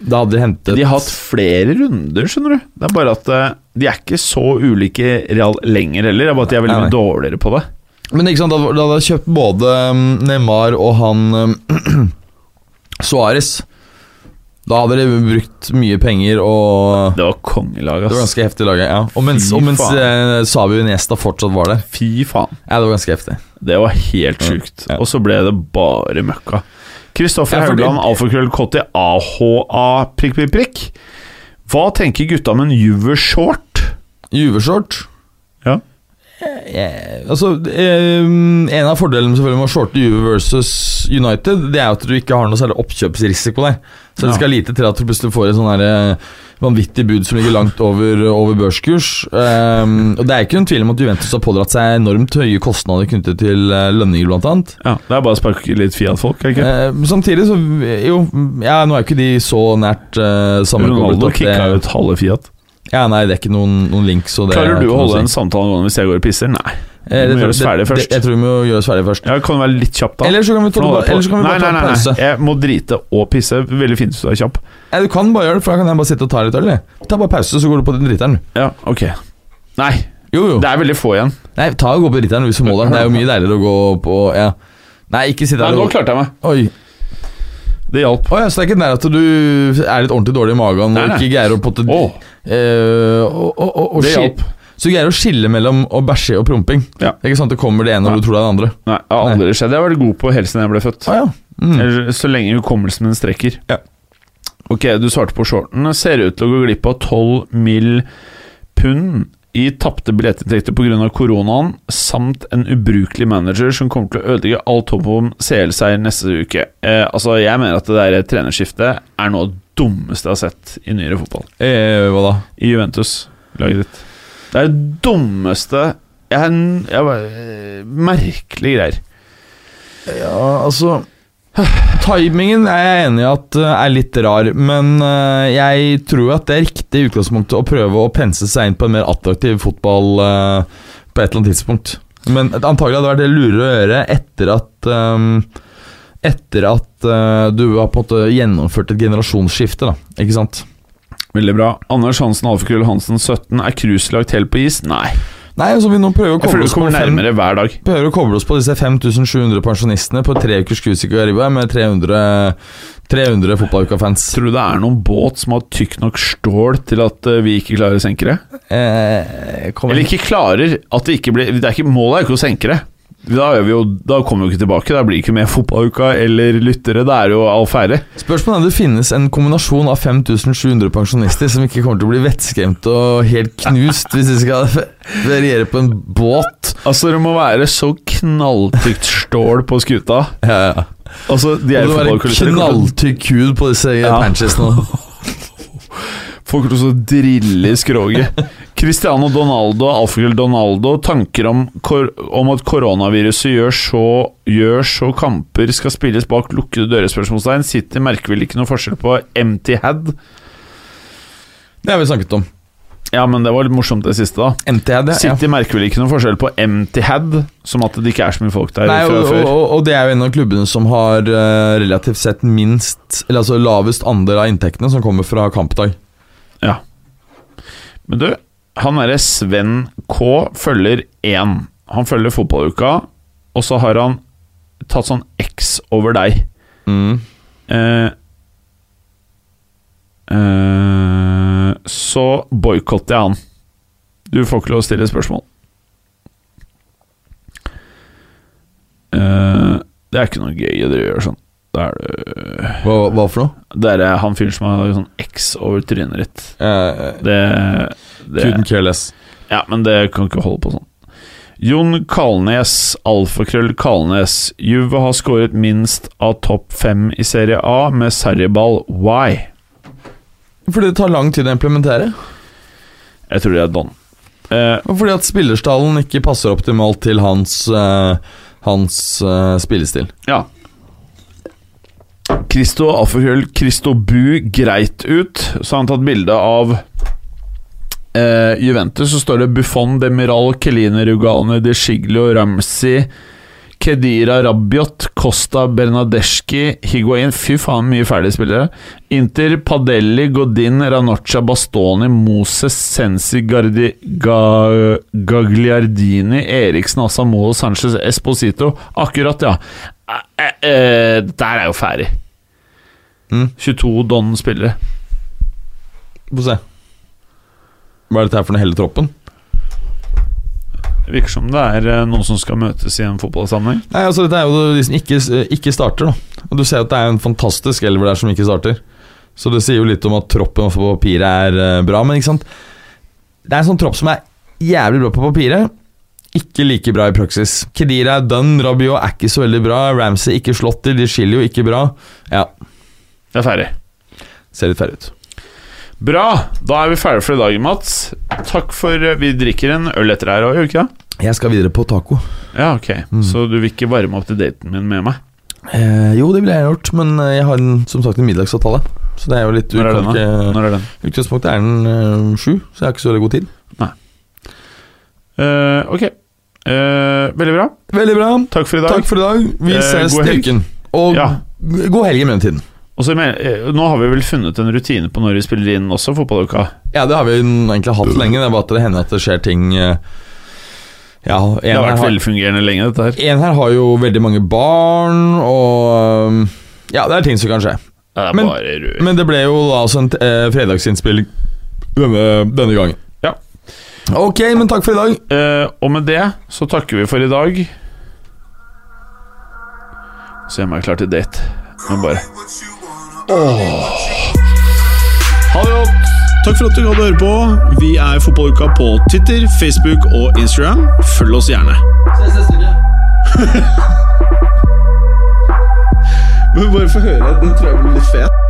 B: Da hadde de hentet
C: De har hatt flere runder, skjønner du. Det er bare at eh, de er ikke så ulike real lenger heller. Det er bare at de er veldig
B: Nei, nei.
C: mye dårligere på det.
B: Men ikke sant, da da hadde jeg kjøpt både mm, Neymar og han [clears throat] mm, Suarez. Da hadde de brukt mye penger og
C: Det var kongelag,
B: Det var
C: ass.
B: ganske heftig laget, ja. Og mens,
C: Fy
B: og mens
C: faen.
B: eh, Sabi Nesta fortsatt var der.
C: Fy faen.
B: Ja, det var ganske heftig.
C: Det var helt sjukt.
B: Ja.
C: Og så ble det bare møkka. Kristoffer
B: Ja, fordi-
C: Haugland, alfakrøll KT, AHA, prikk, prikk, prikk. Hva tenker gutta om en Juve-short?
B: Juveshort
C: Ja.
B: Eh, Altså, eh, en av fordelene selvfølgelig med å shorte Juve versus United, det er jo at du ikke har noe særlig oppkjøpsrisiko der. Så det
C: Ja.
B: skal lite til at du plutselig får et sånn her eh, vanvittig bud som ligger langt over, over børskurs. Eh, og det er ikke noen tvil om at Juventus har pådratt seg enormt høye kostnader knyttet til eh, lønninger, blant annet.
C: ja. Det er bare å sparke litt Fiat-folk, er det ikke?
B: Eh, men samtidig så Jo, ja, nå er jo ikke de så nært eh, sammenkommet
C: Ronaldo
B: at det
C: kicka ut halve Fiat.
B: Ja, nei, det er ikke noen, noen link, så det
C: Klarer du å holde en samtale gående hvis jeg går og pisser? Nei.
B: Eh,
C: Vi må
B: det-
C: gjøre oss
B: det-
C: ferdig
B: det-
C: først.
B: Jeg tror vi må gjøre oss ferdig først.
C: Ja, kan du være litt kjapp, da?
B: Eller så kan vi ta,
C: For nå holder jeg på.
B: eller så kan vi bare ta en pause.
C: Nei, jeg må drite og pisse. Veldig fint hvis du er kjapp.
B: Ja, du kan bare gjøre det, for da kan jeg bare sitte og ta litt øl. jeg. Ta bare pause, så går du på den driteren.
C: Ja, ok Nei,
B: Jo, jo.
C: det er veldig få igjen.
B: Nei, ta og gå på driteren hvis du må det. Det er jo mye deiligere å gå på ja. Nei, ikke sitt
C: Nei,
B: der
C: nå
B: og
C: klarte jeg meg.
B: Oi.
C: Det hjalp.
B: Å ja, så det er ikke nær at du er litt ordentlig dårlig i magen
C: Nei,
B: og
C: nei.
B: ikke greier å potte
C: Åh.
B: Eh, og, og, og, og
C: Det
B: skil-
C: hjalp.
B: Så du greier å skille mellom å bæsje og promping.
C: Ja.
B: Det er ikke sant det kommer det ene, og du tror det er det andre.
C: Nei, det har aldri skjedd. Jeg har vært god på helse siden jeg ble født.
B: Å ja. Mm.
C: Eller Så lenge hukommelsen min strekker.
B: Ja.
C: Ok, du svarte på shorten. Ser ut til å gå glipp av 12 mill. pund i tapte billettinntekter pga. koronaen, samt en ubrukelig manager som kommer til å ødelegge alt håp om CL-seier neste uke. Eh, altså, Jeg mener at det der trenerskiftet er noe av det dummeste jeg har sett i nyere fotball.
B: Eh, hva da?
C: I Juventus, laget ditt. Det er det dummeste jeg, jeg, bare- eh, Merkelige greier.
B: Ja, altså Timingen er jeg enig i at eh, er litt rar, men eh, jeg tror at det er riktig i utgangspunktet å prøve å pense seg inn på en mer attraktiv fotball eh, på et eller annet tidspunkt. Men antagelig hadde det vært det lurere å gjøre etter at eh, Etter at eh, du har på en måte gjennomført et generasjonsskifte, da. Ikke sant?
C: Veldig bra. Anders Hansen, Alfakrøll Hansen, 17. Er cruiselagt helt på is? Nei.
B: Nei, altså vi nå prøver å
C: Jeg
B: koble
C: føler du
B: oss på
C: kommer
B: fem-
C: nærmere hver dag.
B: Prøver å koble oss på disse 5700 pensjonistene på tre ukers cruise i Cariba med 300, 300 fotballuka-fans.
C: Tror du det er noen båt som har tykk nok stål til at eh, vi ikke klarer å senke det?
B: Eh, kommer-
C: Eller ikke klarer at det ikke blir det er ikke, Målet er jo ikke å senke det. Da, er vi jo, da kommer vi jo ikke tilbake. Da blir det ikke mer fotballuka eller lyttere. Da er det jo all feire.
B: Spørsmålet er om det finnes en kombinasjon av 5700 pensjonister som ikke kommer til å bli vettskremt og helt knust hvis de skal [laughs] feriere på en båt.
C: Altså, det må være så knalltykt stål på skuta.
B: Ja, ja.
C: Altså, de
B: Det
C: er
B: må være
C: fotballkulisser.
B: knalltykk hud på disse
C: Ja.
B: panchesene.
C: Folk kommer til å drille i
B: [laughs]
C: skroget. Cristiano Donaldo, alfakrøll Donaldo, tanker om, kor om at koronaviruset gjør så, gjør så kamper skal spilles bak lukkede dører? Spørsmålstegn. City merker vel ikke noe forskjell på empty had?
B: Det har vi snakket om.
C: Ja, men det var litt morsomt, det siste, da.
B: MTHD. Ja.
C: City merker vel ikke noe forskjell på empty had, som at det ikke er så mye folk der
B: Nei,
C: fra
B: og,
C: før?
B: og, og det er jo en av klubbene som har eh, relativt sett minst Eller altså lavest andel av inntektene som kommer fra kampdag.
C: Ja. Men du, han derre Sven K følger én. Han følger fotballuka, og så har han tatt sånn X over deg.
B: Mm.
C: Eh, eh, så boikotter jeg han. Du får ikke lov å stille spørsmål. Eh, det er ikke noe gøy å drive og gjøre sånn. Da er det
B: Hva, hva for noe?
C: Det er han fyren som har sånn X over trynet ditt.
B: Uh,
C: Det, det
B: Couldn't care less.
C: Ja, men det kan ikke holde på sånn. Jon Kalnes, alfakrøll Kalnes. Juve har skåret minst av topp fem i Serie A med sarriball. Why?
B: Fordi det tar lang tid å implementere.
C: Jeg tror det er Don. Eh,
B: Og fordi at spillerstallen ikke passer optimalt til hans, eh, hans eh, spillestil.
C: ja. Christo, alfakrøll Christo Bu greit ut. Så har han tatt bilde av eh, Juventus, så står det Buffon, Demiral, Keline Rugane, De Sciglio, Ramsey Kedira Rabiot, Costa Bernadeschi, Higuain Fy faen, mye ferdige spillere. Inter, Padelli, Godin, Ranoccia, Bastoni, Moses, Sensi, Gardi, Ga, Gagliardini, Eriksen, Asamoah, Sanchez, Esposito. Akkurat, ja. Eh, eh, eh, der er jo ferdig.
B: Mm.
C: 22 Don-spillere.
B: Få se. Hva er dette her for den hele troppen?
C: Det Virker som det er eh, noen som skal møtes i en fotballsammenheng.
B: Nei, altså Dette er jo de som ikke, ikke starter. da Og Du ser at det er en fantastisk elver der som ikke starter. Så det sier jo litt om at troppen på papiret er eh, bra, men ikke sant Det er en sånn tropp som er jævlig bra på papiret, ikke like bra i praksis. Kedira er done, Rabiot er ikke så veldig bra, Ramsey ikke slått til, de skiller jo ikke bra. Ja,
C: Det er ferdig.
B: ser litt ferdig ut.
C: Bra! Da er vi ferdige for i dag, Mats. Takk for eh, Vi drikker en øl etter her òg, gjør vi ikke det?
B: Jeg skal videre på taco.
C: Ja, ok.
B: Mm.
C: Så du vil ikke varme opp til daten min med meg?
B: Eh, jo, det ville jeg gjort, men eh, jeg har en, som sagt en middagsavtale. Så det er jo litt
C: Når er
B: kan
C: den, da?
B: ikke-
C: Når er den?
B: Utgangspunktet er den eh, sju, så jeg har ikke så veldig god tid.
C: Eh, ok. Eh, veldig bra.
B: Veldig bra.
C: Takk for i dag.
B: Takk for i dag. Vi
C: Eh,
B: ses
C: god
B: til
C: helg.
B: uken. Og
C: Ja.
B: god helg i mellomtiden.
C: Og så med, eh, nå har vi vel funnet en rutine på når vi spiller inn også, fotballuka.
B: Ja, det har vi egentlig hatt lenge. Det er bare at det hender at det skjer ting eh, Ja, en
C: Det har
B: her
C: vært
B: har,
C: velfungerende lenge, dette her.
B: en her har jo veldig mange barn, og eh, Ja, det er ting som kan
C: Det
B: skje.
C: er
B: Men-
C: bare rør.
B: Men det ble jo da altså en eh, fredagsinnspilling denne, denne gangen.
C: Ja.
B: Ok, men takk for i dag.
C: Eh, og med det så takker vi for i dag. Så gjør jeg meg klar til date. Men bare Ha det godt!
A: Takk for at du gadd å høre på. Vi er Fotballuka på Twitter, Facebook og Instagram. Følg oss gjerne. Men bare få høre. Den tror jeg blir litt fet.